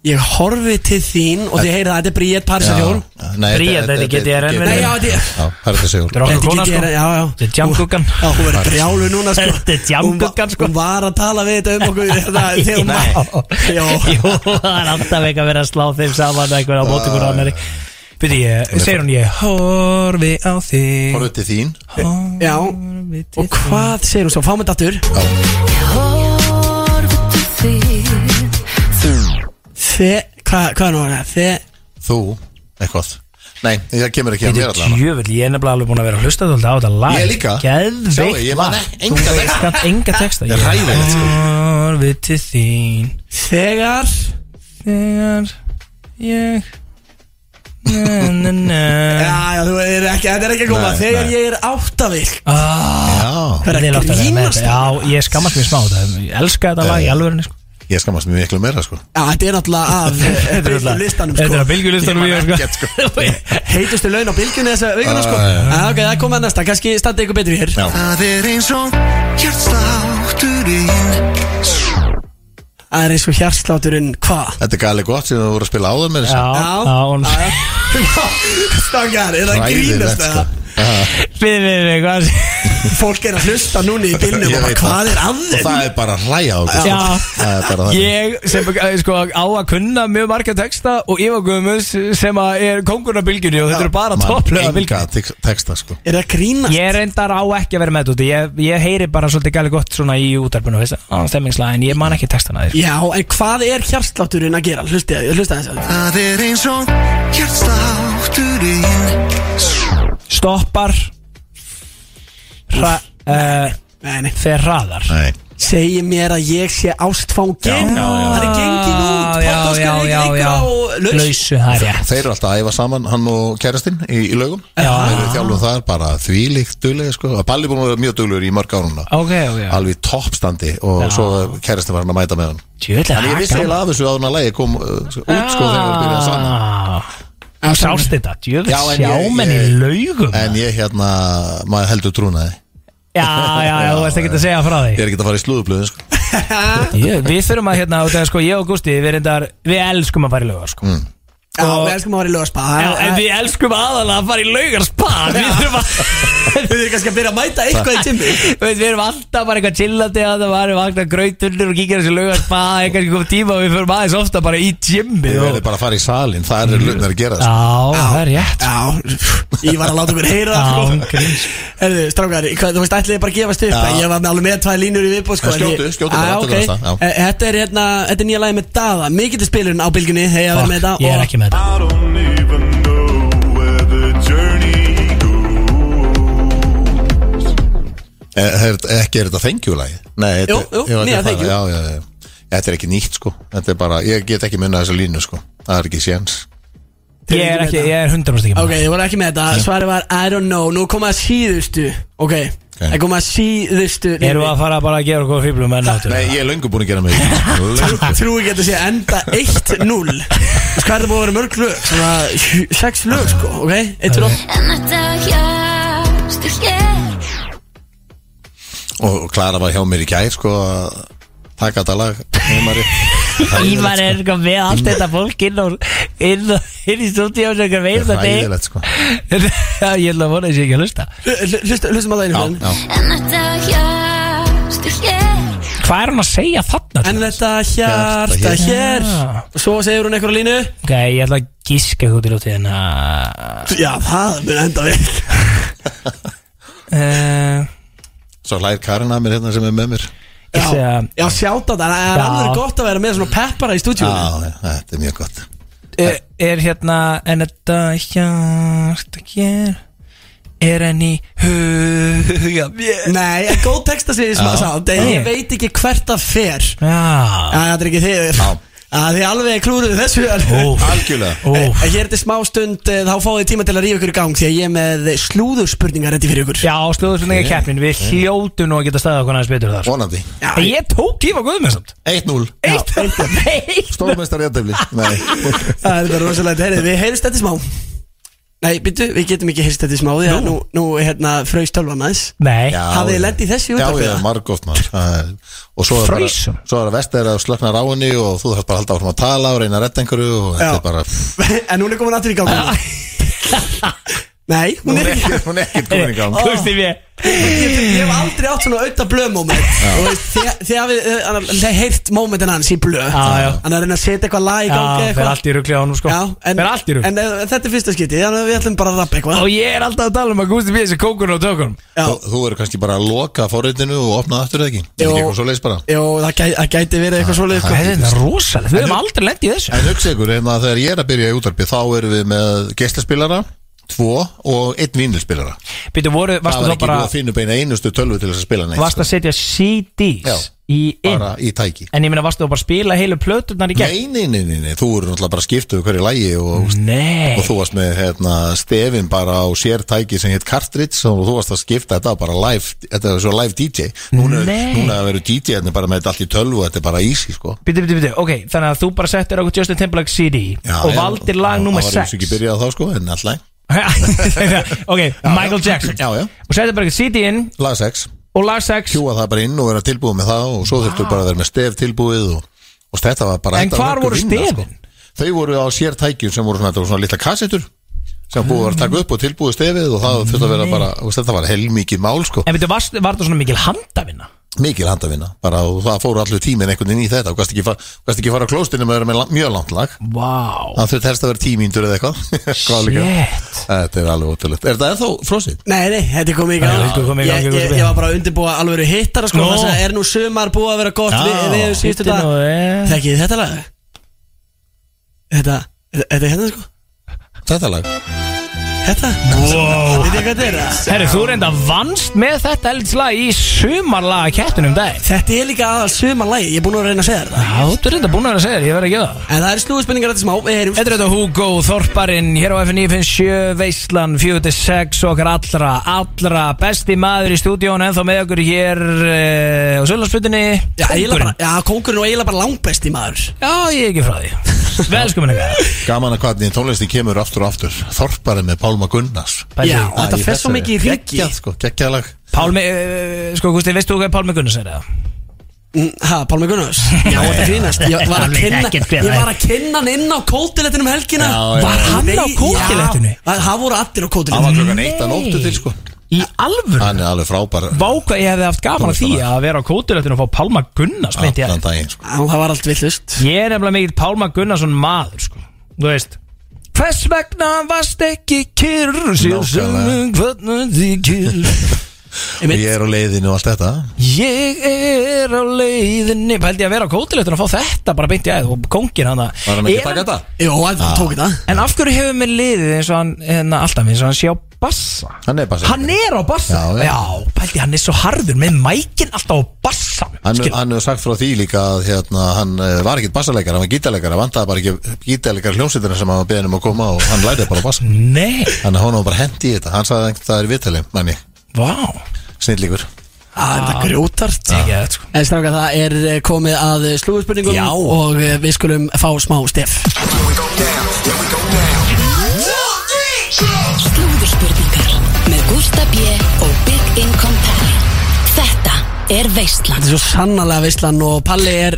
D: Ég horfi til þín og þið heyrið að þetta er Bríett Parísarhjól
B: Bríet, þetta er GTRN,
D: Nei, já, þetta er
C: Já, það er þetta sigur
B: Þetta er okkar kona, sko.
D: GTRN, já, já.
B: Þetta er Djangogan.
D: Já, hún verður brjálu núna sko
B: Þetta er Djangogan,
D: Hún va-
B: sko.
D: Hún var að tala við þetta um okkur hérna, þegar hún var-
B: Jú,
D: Já,
B: það er alltaf ekki að vera að slá þeim saman eitthvað á móti hverju annari Byrði ég, segir hún ég Horfi á þig
C: Horfðu til þín
D: já
B: Horfi til
D: Og hvað segir hún svo? Fáum þetta aftur Þe, hvað, hvað er nú að það? Þe,
C: Þú, eitthvað Nei, það kemur ekki að
B: Þetta er
C: mér allavega
B: djöfull, ég er nefnilega alveg búin að vera að hlusta þetta á þetta lag
C: Ég líka. Sjáðu,
B: Geðveikt
C: ég man e-
B: lag.
C: enga
B: Þú
C: texta.
B: veist samt enga texta
C: Það er hræðilegt, sko.
B: Orfið til þín
D: þegar
B: Þegar ég Na na na
D: Já, já, þú er ekki, þetta er ekki að koma
C: Nei,
D: Þegar
C: nei.
D: ég er áttavill
C: Já,
D: Það er
B: Ég átti að vera
D: að
B: með
D: grínast
B: þetta. Já, ég skammast mér smá þetta Ég elska þetta lag í alvörinu sko.
C: ég skammast mér miklu meira sko
D: Já, þetta er náttúrulega af eh, bylgju listanum
B: Þetta er að
D: sko
B: bylgjulistanum
C: Ég man
B: ég,
C: ekkert,
B: sko.
D: Heitustu laun á bylgjunni þessa aukana sko
C: Já, já, já.
D: Já, ok, það er komið að næsta, kannski standi ykkur betur í hér
C: Já,
G: Það er eins og hjartslátturinn
D: Það er eins og hjartsláturinn, hvað?
C: þetta er gali gott sem þú voru að spila áður með
B: Já,
C: þessu
B: já, hún
D: Já. Strákar, er það að
C: Hræðilegt,
D: grínast
C: sko.
D: það?
B: Fyrir mig, mig, hvað
D: Fólk er að hlusta núni í bílnum og bara hvað er að
C: Og
D: þeim?
C: það er bara að hlæja á okkur,
B: Já.
C: sko. Það er bara þannig.
B: Ég sem eh, sko á að kunna mjög marga texta og Ívar Guðmunds sem að er kongurna bylgjunni og þetta eru bara
C: Man,
B: topplega
C: enga
B: bylgjunni
C: tex- texta sko
D: Er það grínast?
B: Ég reyndar á ekki að vera með þetta úti. ég, ég heyri bara svolítið gæli gott svona í útarpinu stemmingslega en ég man ekki textana þér
D: Já, en hvað er hjartslátturinn að gera? Hlusta, hlusta þess að
G: Það er eins og hjartslátturinn
B: Stoppar hra,
D: Eh,
B: uh,
D: Nei, nei
B: Fer hraðar
C: Nei
D: Segir mér að ég sé ástfangin
C: Já, já, já.
D: Það er gengið
B: Já,
D: út
B: já, já, já
D: já
B: Lausu, það er rétt
C: Þeir eru alltaf að æfa saman, hann og kærastinn í, í lögum
B: Já.
C: Þeir eru þjálfum þar bara þvílíkt duglega sko Að Palli búin að vera mjög duglegur í mörg árunna
B: Ok, ok, ok
C: Alveg í toppstandi og
B: Já.
C: svo kærastinn var hann að mæta með hann
B: Tjöðlega,
C: En ég vissi eiginlega af þessu áður en að lægi kom uh, út sko þegar við byrjaði saman
B: Já, sást þetta, djöfn
C: Já, en ég-
B: sjámenn í
C: ég-
D: Ah.
B: laugum
C: En ég hérna, maður heldur trúnaði
B: Já, já, já, þú veist ekki að segja frá
C: Ég
B: því
C: er ekki að fara í slúðublöðin sko
B: Ég- Við þurfum að hérna, út af sko, ég og Gústi Við reyndar, við elskum að fara í laugar sko
C: Mm.
D: Já, við elskum að vera í Eh, lögaspa
B: Já, en við elskum aðalega að fara í laugar spa Við þurfum að
D: Við erum kannski að byrja að mæta eitthvað í timmi
B: Þú veist, Við erum alltaf bara eitthvað chillandi að það varum vakna grautunnur og kíkja þessu laugar spa kannski kom tíma og við förum aðeins ofta bara í gymmi
C: Ég
B: og...
C: verði bara að fara í salin, það
D: Mm.
C: er lögnar að gera
B: Já,
C: sko.
B: það er rétt
D: Já, ég var að láta mér heyra það,
B: Já,
D: sko.
B: hún grís.
D: Herðu, strákar, hvað, þú veist, ætlaði ég bara að gefast
C: Já.
D: upp Ég var með alveg með tvær línur í viðbóð
C: En
D: sko,
C: skjótu,
D: en ég-
C: skjótu bara,
D: Já,
C: tökum
D: ok.
C: næsta, já.
D: Eh, Þetta er hérna, þetta er nýja lagi með Dada Mikið til spilurinn á bylgunni, hei að vera með þetta
B: Fuck, Ég er ekki með þetta
G: I don't even know where the journey goes
C: Er, Eh, er, ekki er þetta þengjulagi? Nei, þetta-
D: Ah. Jú, jú,
C: ég var ekki að
D: nýja
C: fara-
D: Thank You.
C: já, já, já. Þetta er ekki nýtt sko Þetta er bara, ég get ekki munna þessa línu sko Það er ekki séns
B: Ég er ekki, ég er 100% ekki með
D: Ok, ég var ekki með þetta, svari var I don't know, nú koma að síðustu Ok, það koma að síðustu
B: þetta Erum við að fara bara að gera okkur fýblum enn áttur
C: Nei, ég er löngu búin að gera mig sko. Löngu.
D: Trú ekki að þetta sé að enda 1-0 Þú veist, Hvað er það búið að vera mörg lög? Svona 6 lög, sko, ok? Eitt fyrir okkur
A: En þetta hjástu hér
C: Og Klara var hjá mér í gær sko að taka þetta lag Ímari
B: Ívar er eitthvað með allt þetta fólk inn, á, inn, á- inn í stúdíu og eitthvað veist að þig
C: Ræðilegt sko
B: Já, ég ætla að vona þess ég ekki að hlusta
D: Hlustum að það einu
C: Já,
D: fyrir
C: já
A: En þetta hjástu hér
B: Hvað er hún að segja þarna?
D: En þetta hjarta
C: Hjarta
D: hér
B: Já.
D: Og Svo segir hún einhverja línu
B: Ok, ég ætla að gíska eitthvað út í hérna. ljótið en að
D: Já, það mun enda við
B: Eh,
C: Svo hlær Karin að mér hérna sem er með mér
B: Ég segi
D: Já,
B: að-
D: já sjáta það Það er
B: Já.
D: alveg gott að vera með svona peppara í stúdíu
C: Já, já, þetta er mjög gott
B: er, er hérna En þetta hjást að hér Er henni huga mér
D: Nei, en góð texta sig sem
C: Já.
D: það sátt En
B: Já.
D: ég veit ekki hvert það fer Já,
B: Já
D: það er ekki
C: Já.
D: þið Já, Þið alveg klúruðu þessu
B: Úf,
C: Algjörlega
B: úf
D: En hér er þetta smá stund, eh, þá fáið þið tíma til að ríða ykkur í gang Því að ég er með slúðurspurningar rétti fyrir ykkur
B: Já, slúðurspurninga keppnin Við hljótum nú að geta staðið okkur aðeins betur þar
C: Vonandi
D: Já,
B: En Ég tók Ívar Guðmunds samt.
C: 1-0
B: Eitt Eitt
C: Stórmestari jættefli Nei
D: Það er bara rosalegt, heyrðu, við heyrðist þetta í smá Nei, byttu, við getum ekki heyrst þetta í smá Því að nú, nú hérna, fraust tölvan aðeins
B: Nei
C: Já,
D: Hafið þið
C: já.
D: lent í þessu
C: Já,
D: útvarpi,
C: já,
D: eða?
C: margóft maður Það er- Og svo er bara
B: Frausum.
C: Svo er að vestir að slökna ráinni og þú þarf bara að halda áfram að tala og reyna að retta einhverju og þetta
D: Já.
C: er bara
D: En hún er komin aftur í gang Nei,
C: Hún
D: hún er
C: er
D: ekki
C: ekkert- hún er ekkert komin í gang
B: Gústi mér
D: Ég ég hef aldrei átt svona auðvitað blöð-moment Og veist, þið- Þið hafið eh, hann hafið heyrt momentin hans í blöð
B: Já, já.
D: Hann er að reyna að setja eitthvað lag í gangi
B: Já, fer
D: eitthvað
B: allt í rugli á hann sko
D: Já, en,
B: Fer allt í rugli
D: en eh, þetta er fyrsta skipti Þannig að við ætlum bara að rappa eitthvað
B: Og ég er alltaf að tala um að Gústi B. sé kókurinn og tökurinn
D: Já.
C: Þú, þú eru kannski bara að loka forritinu og opna aftur eða ekki Það er
D: Jó.
C: ekki eitthvað svo leis bara
D: Jó, það gæti, það gæti verið eitthvað svoleið
B: Það er
D: sko.
B: þetta rosalegt, við höfum
C: En-
B: aldrei lendið í þessu
C: En hugsa ykkur, hérna, þegar ég er að byrja í útarpi þá erum við með geislaspilara tvo og einn vínilspilara
B: Býtu, voru,
C: Það
B: varstu
C: var
B: þá
C: ekki
B: bara
C: bara... að finna upp eina einustu tölvu til þess að spila neitt
B: Varstu að
C: sko.
B: setja
C: Já.
B: CDs í inn
C: bara í tæki
B: En ég meina, varstu þá bara að spila heilu plöturnar í gegn
C: Nei, nei, nei, nei, nei, þú eru náttúrulega bara skiptuð hverju lægi
B: Mm.
C: og,
B: Nei
C: og þú varst með hérna, stefin bara á sér tæki sem heit Cartridge og þú varst að skipta þetta var bara live, þetta er svo live DJ Núna,
B: Nei.
C: núna verður DJ hérna bara með þetta allt í tölvu þetta er bara easy sko
B: Býtu, býtu, býtu, ok, þannig að þú bara settir okkur Justin Timberlake CD Og valdir lag nummer
C: Það var eins
B: 6
C: og ekki byrjað þá sko, en alltaf
B: Ok, Michael Jackson
C: Já, já.
B: Og settir bara eitthvað CD inn
C: Lag 6,
B: og lag 6
C: kjúa það bara inn og vera tilbúið með það og svo þurftu bara að vera með stef tilbúið og, og þetta var bara
B: En
C: þetta var
B: hvar
C: nokkuð
B: voru
C: vinna,
B: stefin?
C: Þau voru á sér tækjum sem voru svona, þetta voru svona litla kassetur sem búið var að taka upp og tilbúið stefið og
B: Mm.
C: það þurfti að vera bara, þú veist, þetta var heilmikið mál sko,
B: En veitu, var, var það svona mikil handavinna?
C: mikil handavinna bara og það fóru allir tíminn einhvern veginn í þetta og gæst ekki, far, gast ekki fara á klóstinu með að vera með la- mjög langt lag
B: Vá
C: það þurfti helst að vera tímíndur eða eitthvað Hvað líka.
B: Shit.
C: þetta er alveg ótrúlegt er þetta ennþá frosið?
D: Nei, nei, þetta er komið í
B: Já,
D: gang
B: þetta er komið í gang,
D: Ég-
B: Gusti
D: Ég
B: B.
D: ég var bara að undirbúa alveg hittara sko
B: Nó.
D: Þess að er nú sumar búið að vera gott
B: Já,
D: við, við
B: bíddu
D: síðustu dag
B: nú, eh.
D: Þekkið þið þetta lag? Þetta, þetta þetta er hérna sko
C: þetta lag?
D: Þetta,
B: Wow.
D: þetta er hvað þetta er
B: Herru, þú reynda vannst með þetta eldslag í sumarlaga kettunum dag
D: Þetta er líka aðal sumar lagi, ég er búin að reyna að segja þér það
B: Já, þú er reynda búin að vera að segja þér, ég verð að gera það
D: En það er snúðspenningar þetta smá, við heyrum
B: Þetta er þetta Hugo Þorparinn hér á F957 Veislan 46 okkar allra, allra besti maður í stúdíón ennþá með okkur hér eh, á Sölarspötunni
D: Já, eiginlega bara, já, kóngurinn og eiginlega bara langbesti maður
B: Já, ég er ekki frá því Velskumin eitthvað
C: gaman að hvernig tónlistin kemur aftur og aftur þorparið með Pálma Gunnars
B: Pældi
D: Já,
B: því.
D: þetta
C: Æ,
D: fer svo
C: þessu-
D: mikið í ríki.
C: geggjað sko, geggjað lag
B: Pálmi, eh, sko Gusti, veistu hvað Pálmi Gunnars er það?
D: Mm, Ha, Pálmi Gunnars? Já, þetta grínast Ég var að
B: Hann veit
D: kynna
B: ekkert hver
D: Ég
B: það er.
D: var að kynna hann inn á kótilettinum um helgina
C: Já, já,
B: já. Nei, já.
D: Já, það voru allir á
C: það var
D: kótilettinum
C: klokkan eitt að nóttu til sko
B: Í alvöru?
C: hann er alveg frábær
B: Vá hvað ég hefði haft gaman að því að vera á kóturöttinu og fá Pálma Gunnars, myndi ég
C: allan daginn sko
D: Já, það var allt villust
B: Ég er nefnilega mikill Pálma Gunnarsson maður sko. Þú veist Hvers vegna varst ekki kyrr Sér sem
C: Nákvæmlega.
B: hvernig þið kyrr
C: og ég er á leiðinu og allt þetta
B: Ég er á leiðinni Pældi ég að vera á kótilegtun og fá þetta bara beint í æð og kóngin hann
C: var hann ekki að taka þetta?
D: Jó, hann tók þetta
B: En af hverju hefur mér liðið eins og hann hérna, alltaf eins og hann sé á bassa
C: hann er bara
B: Hann er á bassa
C: Já, já.
B: pældi hann er svo harður með mækin alltaf á bassa
C: Hann, hann hefur sagt frá því líka að hérna, hann eh, var ekkert bassaleikar, hann var gítarleikar hann vantaði bara ekki gítarleikar hljómsveitina sem hann var beðin um að koma og hann læriði bara að bassa
B: Nei,
C: þannig að hann var bara hendi í þetta, hann sagði einhvern það er viðtali manni,
B: vá
C: snillíkur
D: Á, er þetta grjótart
B: Ekki að þetta sko
D: En stráka, það er eh, komið að slúðspurningum Já Og eh, við skulum fá smá stef
E: Slúðurspurningar með Gústa B. og Big Income Pally Þetta er
D: Þetta
E: Veistland
D: er svo sannarlega veislan og Palli er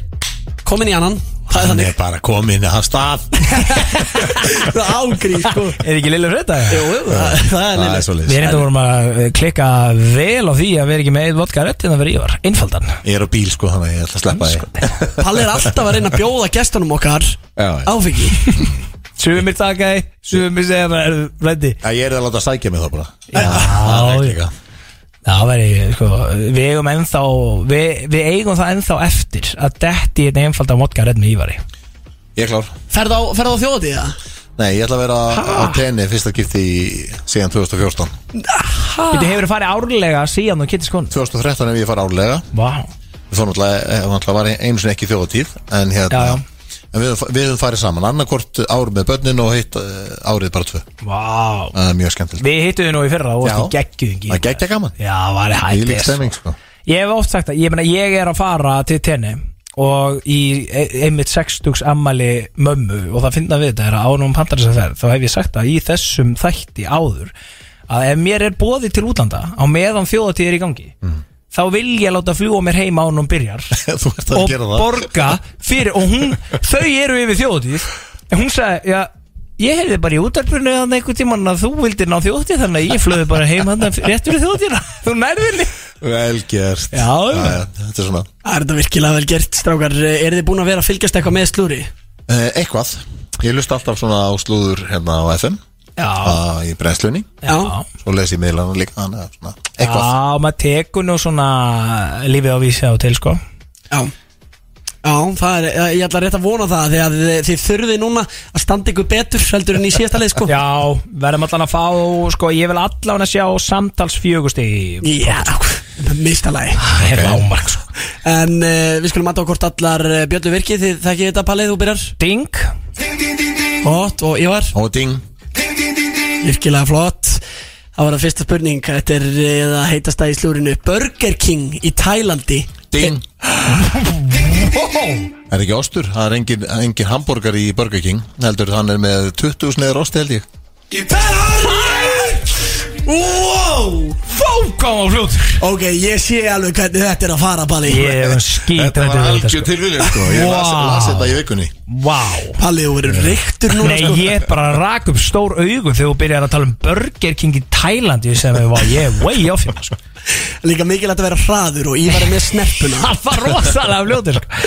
D: komin í annan Það er
C: hann
D: þannig
C: er bara komin að stað
D: Það er ágrís, sko
B: Er ekki Lillur þetta?
D: Jú, jú, það það er
C: það
D: leila
C: er svo
B: Við reyndum vorum að eh, klikka vel á því að við erum ekki með eitt vodka rétt en það verið Ívar, einfaldan
C: ég er á bíl sko, þannig að ég ætla að sleppa því
D: Palli er alltaf að reyna að bjóða gestunum okkar
C: Já, já.
D: Áfengi
B: Sumir taka því, sumir segja bara er ready
C: Já, ég er að láta sækja mig þá bara
B: Já,
C: það er ekki eitthvað.
B: það verið, sko, við eigum ennþá við, við eigum það ennþá eftir að detti einn einfaldan vodka rétt með Ívari
C: ég er klár
D: Ferð á, ferð á þjóðatíð, eða?
C: Nei, ég ætla að vera á tenni fyrsta skipti í- síðan 2014
B: Þú hefur farið árlega síðan og kittist konur
C: 2013 ef ég fara árlega
B: Vá,
C: Við fórum alltaf að vera einu sinni ekki þjóðatíð En hérna
B: Já, já.
C: En við, höfum- við höfum farið saman annarkort ár með börnin og hitt eh, árið bara tvö
B: vá
C: Það er mjög skemmtilegt
B: Við hittum þið nú í fyrra og varstu geggjuðingi
C: Það geggja gaman
B: Já, var
C: Í
B: hættið
C: lík stemming sko
B: Ég hef oft sagt það, ég meina ég er að fara til tenni og í e- einmitt sextugs ammali mömmu og það finna við þetta er að ánum pandar sem þær þá hef ég sagt það í þessum þætti áður að ef mér er bóðið til útlanda á meðan þjóðatíð er í gangi
C: Mhm.
B: þá vil ég láta fljúa mér heima ánum byrjar
C: Þú ert að
B: og
C: gera það
B: borga fyrir og hún, þau eru yfir þjóðatíð en hún sagði, já, ég hefði bara í útarpurnu þannig einhvern tímann að þú vildir ná þjóðatíð þannig að ég flöði bara heima þannig rétt fyrir þjóðatíðna þú nærðinni
C: Vel gert
B: Já, já.
C: Þetta er svona
D: Það er þetta virkilega vel gert, strákar Er þið búin að vera að fylgjast eitthvað með slúri?
C: Eh, Eitthvað Ég lust alltaf svona á slúður hérna á FM
B: Já,
C: að- Í brennslunni
B: já
C: Svo les ég miðlana líka þannig að svona Eitthvað
B: Já, maður tekur nú svona lífið á vísi á til sko
D: Já Já, það er, eh, ég ætla rétt að vona það Þegar þið, þið þurfið núna að standa ykkur betur heldur en í síðasta leið, sko
B: Já, verðum allan að fá sko, ég vil allan að sjá samtals fjögusti
D: Já, mistalagi
B: Það er lámark sko
D: En uh, við skulum aðtá hvort allar eh, bjöllu virki Þið þekkið þetta palið, þú byrjar
B: Ding
D: Gott og Ívar,
C: Og ding
D: virkilega flott Það var það fyrsta spurning Þetta er eh, það heitasta í slúrinu Burger King í Tælandi
C: Ding Er ekki ostur, það er engin, engin hamburger í Burger King Heldur hann er með 20 sneður osti held ég
D: Wow
B: Fókám á fljótur
D: Ok, ég sé alveg hvernig þetta er að fara Palli
B: Ég var skít
C: Þetta var algjör tilvíðin sko Ég las,
B: Vá.
C: las þetta í vikunni
B: Vá
D: Palli, þú verður reyktur núna sko.
B: Nei, ég bara rak upp stór augun þegar þú byrjar að tala um Burger King í Tæland Ég sem að ég er way off hérna sko.
D: Líka mikilvægt að vera hraður og Ívar er með snerpuna
B: Hann var rosalega fljótur sko.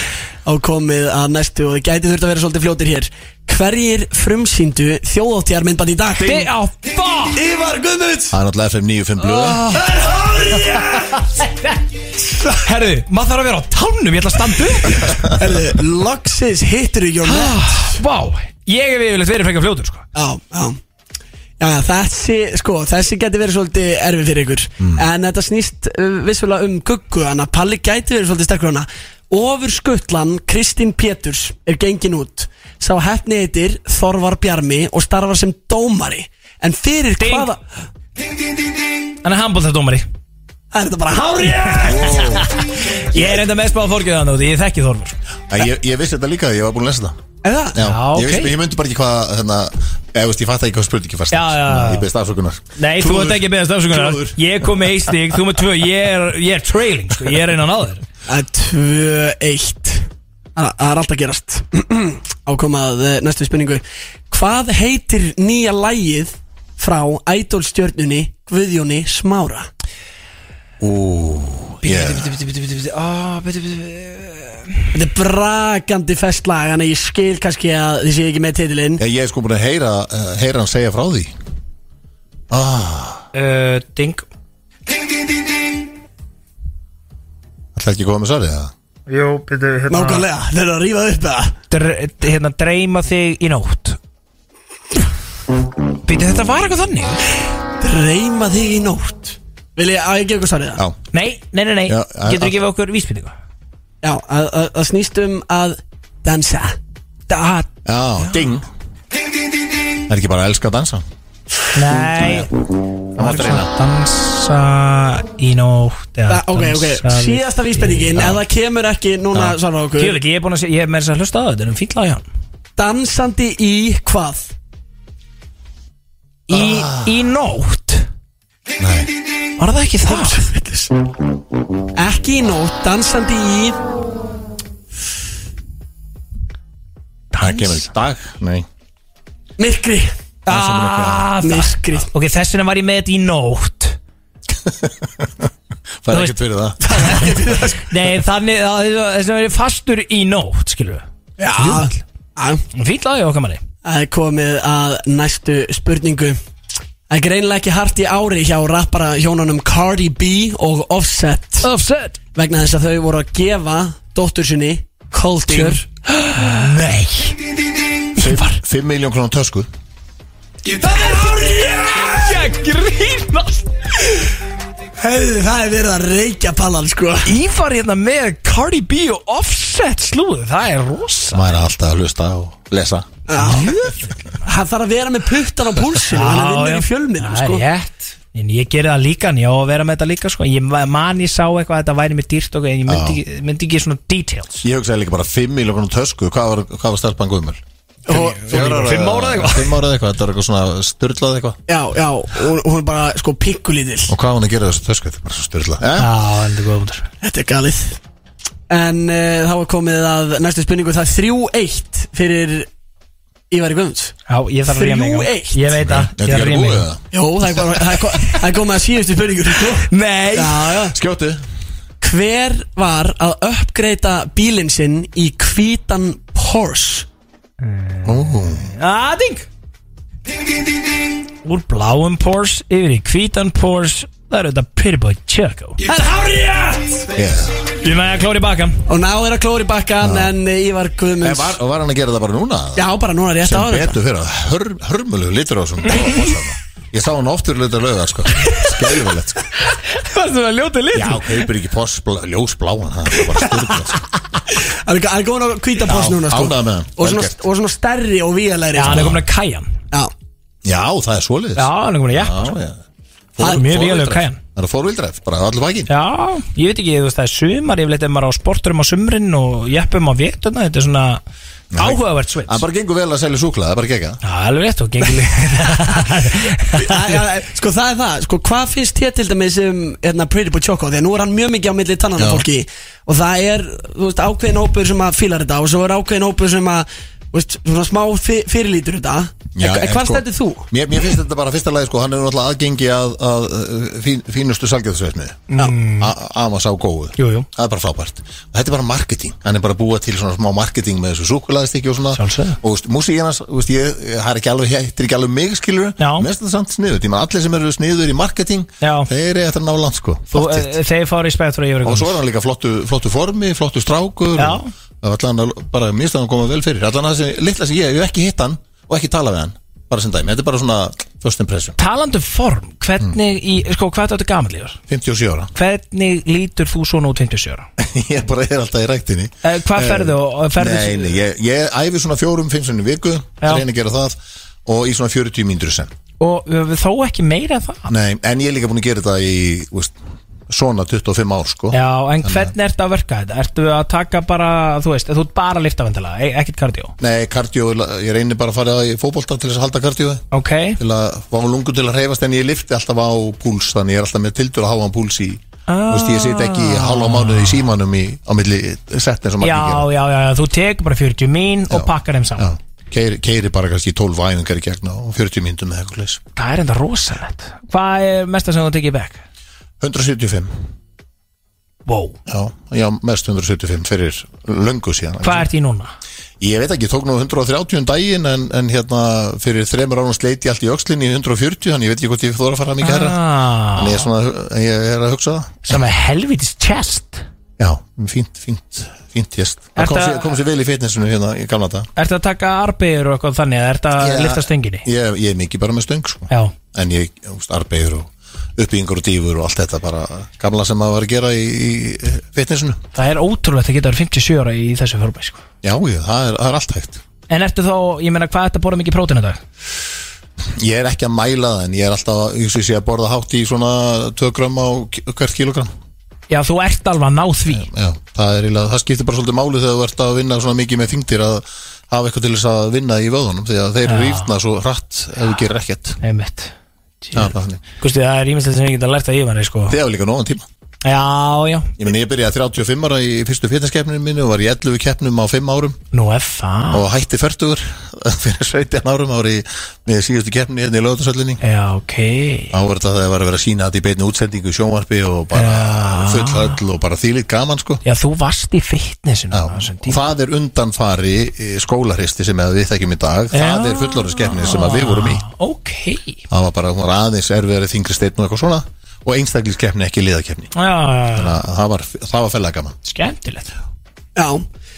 D: á komið að næstu og þið gæti þurft að vera svolítið fljótir hér Hverjir frumsýndu þjóðóttjar myndband í dag?
B: Þið á fuck
D: Ívar Guðmunds
C: Það er náttúrulega FM 95
B: Ah.
C: blöða
B: Herðu, maður þarf að vera á tánum, ég ætla að standa upp
D: Herðu, Loxis hittur í Jón
B: Ah, Vá, ég hef yfirleitt verið frekar fljótur sko.
D: Já, já Já, já, þessi, sko, þessi gæti verið svolítið erfið fyrir ykkur En þetta snýst uh, vissulega um guggu Þannig að Palli gæti verið svolítið sterkur á hana Ofur skuttlan Kristín Péturs er gengin út Sá hefni heitir Þorvar Bjarmi og starfar sem dómari En fyrir
B: Ding.
D: hvaða
B: Hann er handbóltardómari
D: Það er þetta bara hárið
B: Ég er enda mest báða fórgjöð þannig að ég þekki Þorvar sko.
C: ég, ég vissi þetta líka, ég var búin að lesa þetta
D: Er það?
C: Já,
B: Já,
C: ég,
B: ok.
C: vissi, ég myndi bara ekki hvað hérna, eða veist, ég fatt ekki hvað spurningi fast
B: Já, já, já.
C: Ég beðist afsökunar
B: Nei, þú ert ekki að beðast afsökunar
C: Klúður.
B: Ég kom með eitt stík, þú með tvö Ég er, ég er trailing, sko. ég er einan aður
D: Það er 2-1 Það það er allt að gerast Ákomað næstu spurningu Hvað heitir nýja lægið frá ædolstjörnunni Guðjóni Smára?
C: yeah. Ah,
D: Þetta er brakandi festlag Þannig að ég skil kannski að þið séu ekki með titilinn
C: Ég er sko búin að heyra, eh, heyra hann segja frá því Ah,
B: uh, Ding
C: Það er ekki góða með svarið eða?
B: Jó, byrju,
D: Nákvæmlega, þeir eru að rífa upp eða
B: dre, hérna, dreima þig í nótt Býtu, þetta var eitthvað þannig?
D: Dreima þig í nótt Vil ég að ég gefa ykkur svarið það?
C: Já,
B: Nei, nei, nei, nei,
C: Já, að-
B: getur ekki við okkur vísbyrningu
D: Já, að, að, að snýst um að dansa Da,
C: já, ding Það er ekki bara að elska að dansa
B: Nei,
C: Það mátti reyna
B: dansa í nótt
D: da, ok, ok, síðasta vísbendingin Ef það kemur ekki núna svarað okkur
B: Kjöleik, ég er búin að sé, ég er með þess að hlusta á þetta, þetta er um fínt lag hjá hann
D: Dansandi í hvað?
B: Í, í nótt Nei Var það ekki það?
D: Ekki í nótt, dansandi í
C: Það kemur í dag Nei
D: myrkri
B: Ah, það
D: Myrkri
B: Ok, þess vegna var ég með þetta í nótt
C: Það
B: Þú
C: er ekkert fyrir það
B: Nei, þannig, það- þess vegna var ég fastur í nótt, skilur við
D: Já Já,
B: Fínt lag hjá okkar manni
D: Það er komið að næstu spurningu Það er greinilega ekki hart í ári hjá rappara hjónunum Cardi B og Offset
B: Offset
D: vegna þess að þau voru að gefa dóttur sinni Culture
B: Nei
C: Fimm- Fimm miljón krónar tösku
B: Ég grínast
D: Hefðu, það er verið að reykja pallan sko
B: Ívar hérna með Cardi B og Offset slúðu Það er rosa
C: Maður er alltaf að hlusta og lesa
D: Það þarf að vera með puttan á púlsinu Þannig að vinnur í fjölmiðum sko
B: Það er rétt En ég gerði það líka, en ég á að vera með þetta líka sko. Ég va- man ég sá eitthvað að þetta væri mér dýrt okkur, En ég myndi, ekki- myndi ekki svona details
C: Ég hugsaði líka bara fimm miljón krónar tösku Hvað var, hvað var stelpan gömul?
D: Og-
C: Fjóra ára-
B: fimm ára eða eitthvað?
C: Fimm ára eða eitthvað, þetta var eitthvað svona styrlað eitthvað
D: Já, já, hún, hún er bara sko pikkulítil
C: Og hvað á hún að gera þessu tösku, þetta er bara svo styrlað eh?
B: Já, en þetta er góð hundur
D: Þetta er galið En uh, þá er komið að næstu spurningu Það er 3-1 fyrir Ívar Guðmunds
B: Já, ég þarf að ríða mig í gang.
D: 3-1.
B: Ég veit það, ég
C: Þetta
B: þarf að
C: er
B: ríða mig í
C: búið
B: gang.
C: eða?
D: Jó, það er, bara, það er, ko- það er komið að síðustu spurningu sko.
B: Nei
D: Já, já
C: Skjótu
D: Hver var að uppgreita bílinn sinn í hvítan Porsche?
B: Aðing Úr bláum Porsche yfir í hvítan Porsche Það eru þetta Pretty Boy Checo
D: Það er hárið!
C: yeah.
B: Ég með að klóri baka
D: Og ná er að klóri bakkan en eh, Ívar
C: Eh,
D: Guðmunds
C: var, Og var hann að gera það bara núna?
D: Já, bara núna rétt
C: sem
D: á þetta
C: betur fyrir að hör, hörmulegu litur á þessum possanum. ég sá hann oftur litur lögða sko. skelvilegt sko.
B: Varstu að ljóta lit?
C: já, kaupir ekki poss ljósbláan það er bara styrkilegt sko.
D: Það er gó- það er góðan að hvítan Porsche
C: Já,
D: núna sko.
C: ánægður með hann.
D: og, svona,
C: Vel gert.
D: og svona stærri og víalegri
B: Já, hann er
D: sko.
B: komin að kæjan
D: Já,
C: já, það er svoleiðis
B: Já, hann er komin að jakka
C: já, já.
B: Það er mjög
C: fór-
B: vélag
C: fór-
B: kæjan
C: Það er að fórvildræf, bara allur bakinn
B: Já, ég veit ekki, þú veist það er sumar yfirleitt ef maður á sporturum á sumrin og jeppum á vétuna, þetta er svona áhugavert svits
C: Það bara gengur vel að selja súklaði, það er bara gegga
B: Já, alveg rétt og gengil
D: Æ, já, Sko það er það, sko hvað finnst hér til dæmis um hérna, Pretty Boy Choco Þegar nú er hann mjög mikið á milli tannana
C: Já.
D: fólki Og það er, þú veist, ákveðin hópur sem að fílar þetta Og svo er ákveðin hópur sem að, þú veist, svona smá fi- fyrirlítur þetta
C: Já,
D: En en hvað
C: sko,
D: stendur þú?
C: Mér, mér finnst þetta bara fyrsta lagi sko, hann er náttúrulega aðgengi að, að uh, fín, fínustu salgjöðsveitni Amas á góðu
B: Jú, jú.
C: Það er bara frábært og Þetta er bara marketing, hann er bara að búa til svona smá marketing með þessu súkulaðistikki og svona
B: Sjálfsögðu.
C: Og veist, músíkinas, veist, ég, ég, það er ekki alveg, hittir ekki alveg mig skilur
B: Já.
C: Mest þetta samt sniðut, ég maður allir sem eru sniður í marketing
B: Já.
C: Þeir eru eftir að ná land sko
B: Þú,
C: Flott hitt.
B: eh, Þeir fara í spekt frá yfir
C: Og svo er hann líka flottu, flottu formi, flottu strákur
B: Já.
C: og Það var allan að- bara minnst að hann koma vel fyrir Allan að þessi litla sem ég, ég hef ekki hitt hann og ekki tala við hann Bara sem dæmi, þetta er bara svona first impression
B: Talandu um form, hvernig í, sko, hvað þetta gamall yfir?
C: 57 ára
B: Hvernig lítur þú svona út 57 ára?
C: Ég bara er alltaf í ræktinni
B: Eh, Hvað ferðu? og- ferðu
C: Nei, nei, ég, ég æfi svona fjórum, fimm sinni í viku
B: Já.
C: reyni að gera það og í svona 40 mínútur sem
B: Og eh, þó ekki meira en það?
C: Nei, en ég er líka búin að gera þetta í veist, svona 25 ár sko
B: Já, en hvernig ertu að verka þetta? Ertu að taka bara, þú veist, þú ert bara liftavendala, ekkert kardió
C: Nei, kardió, ég reyni bara að fara í fótbolta til þess að halda kardiói
B: Ok,
C: til að fá lungu til að reyfast en ég lifti alltaf á púls þannig ég er alltaf með tildur að háa púls í
B: Ah.
C: ah. veist, ég sit ekki hálfa mánuð í símanum í, á milli setni sem margir
B: já,
C: gera.
B: já, já, já, þú tekur bara 40 mín og
C: Já.
B: pakkar þeim saman
C: já. Keiri, keiri bara kannski 12 æfingar í gegn og 40 myndum eða eitthvað leys
B: Það er enda rosalegt Hvað er mesta sem þú tekið í bekk?
C: 175
B: Wow.
C: já, já, mest 175 fyrir löngu síðan
B: Hvað ert í núna?
C: ég veit ekki, ég tók nú 130 um daginn en, en hérna fyrir þremur árum sleiti ég allt í öxlinni í 140 þannig ég veit ekki hvort ég þóra að fara mikið herra en
B: Ah,
C: ég er, svona, ég er að hugsa það
B: sem er helvitis chest
C: Já, fínt, fínt, fínt gest Það
B: Ertu
C: kom
B: að-
C: sér, kom sér vel í fitnessinu hérna í gamla þetta
B: Ertu að taka arbeigir og eitthvað þannig eða Ertu að lifta stönginni?
C: Ég, ég er mikið bara með stöng sko.
B: Já,
C: En ég, úst, arbeigur og uppbyggingur og dýfur og allt þetta bara gamla sem maður var að gera í, í fitnessinu
B: það er ótrúlegt að geta verið 57 ára í þessu formi sko.
C: Já, ég, það, er, það er allt hægt
B: En ertu þá, ég meina hvað ertu að bóra mikið prótín í dag?
C: Ég er ekki að mæla það en ég er alltaf að- ég sé, sé að borða hátt í svona 2 gram á ki- hvert kilogram
B: Já, þú ert alveg að ná því
C: Já, það, er, eiginlega- það skiptir bara svolítið máli þegar þú ert að vinna svona mikið með þingdir að hafa eitthvað til þess að vinna í vöðunum því að þeir
B: Já.
C: rýfna svo hratt ef þú gerir ekkert
B: Einmitt
C: Já, það er þannig.
B: Gusti, það er ímestlega sem ég geta lært að yfir hann sko.
C: Þið hafa líka nógan tíma
B: Já, já,
C: Ég meni, ég byrjaði 35 ára í fyrstu fitnesskeppninu minni og var í 11 keppnum á 5 árum
B: nú er það
C: og hætti 40 fyrir 17 árum ári með síðustu keppninu hérna í lögutarsöllinni.
B: Já, ok
C: Þá var þetta þegar var að vera að sína þetta í beinu útsendingu í sjónvarpi og bara
B: Já.
C: full höll og bara þýlitt gaman sko.
B: Já, þú varst í fitnessinu á
C: Já.
B: þessum
C: Og
B: tíma.
C: Það er undanfari eh, skólaristi sem við þekkjum í dag. Það
B: Já.
C: er fullorðiskeppnin sem að við vorum í.
B: Ok
C: Það var bara hún var aðeins erfiðari þingri steinn og eitthvað svona og einstaklingskeppni ekki liðakeppni.
B: Já, já, já.
C: Þannig að það var, það var fellega gaman.
B: skemmtilegt
D: Já,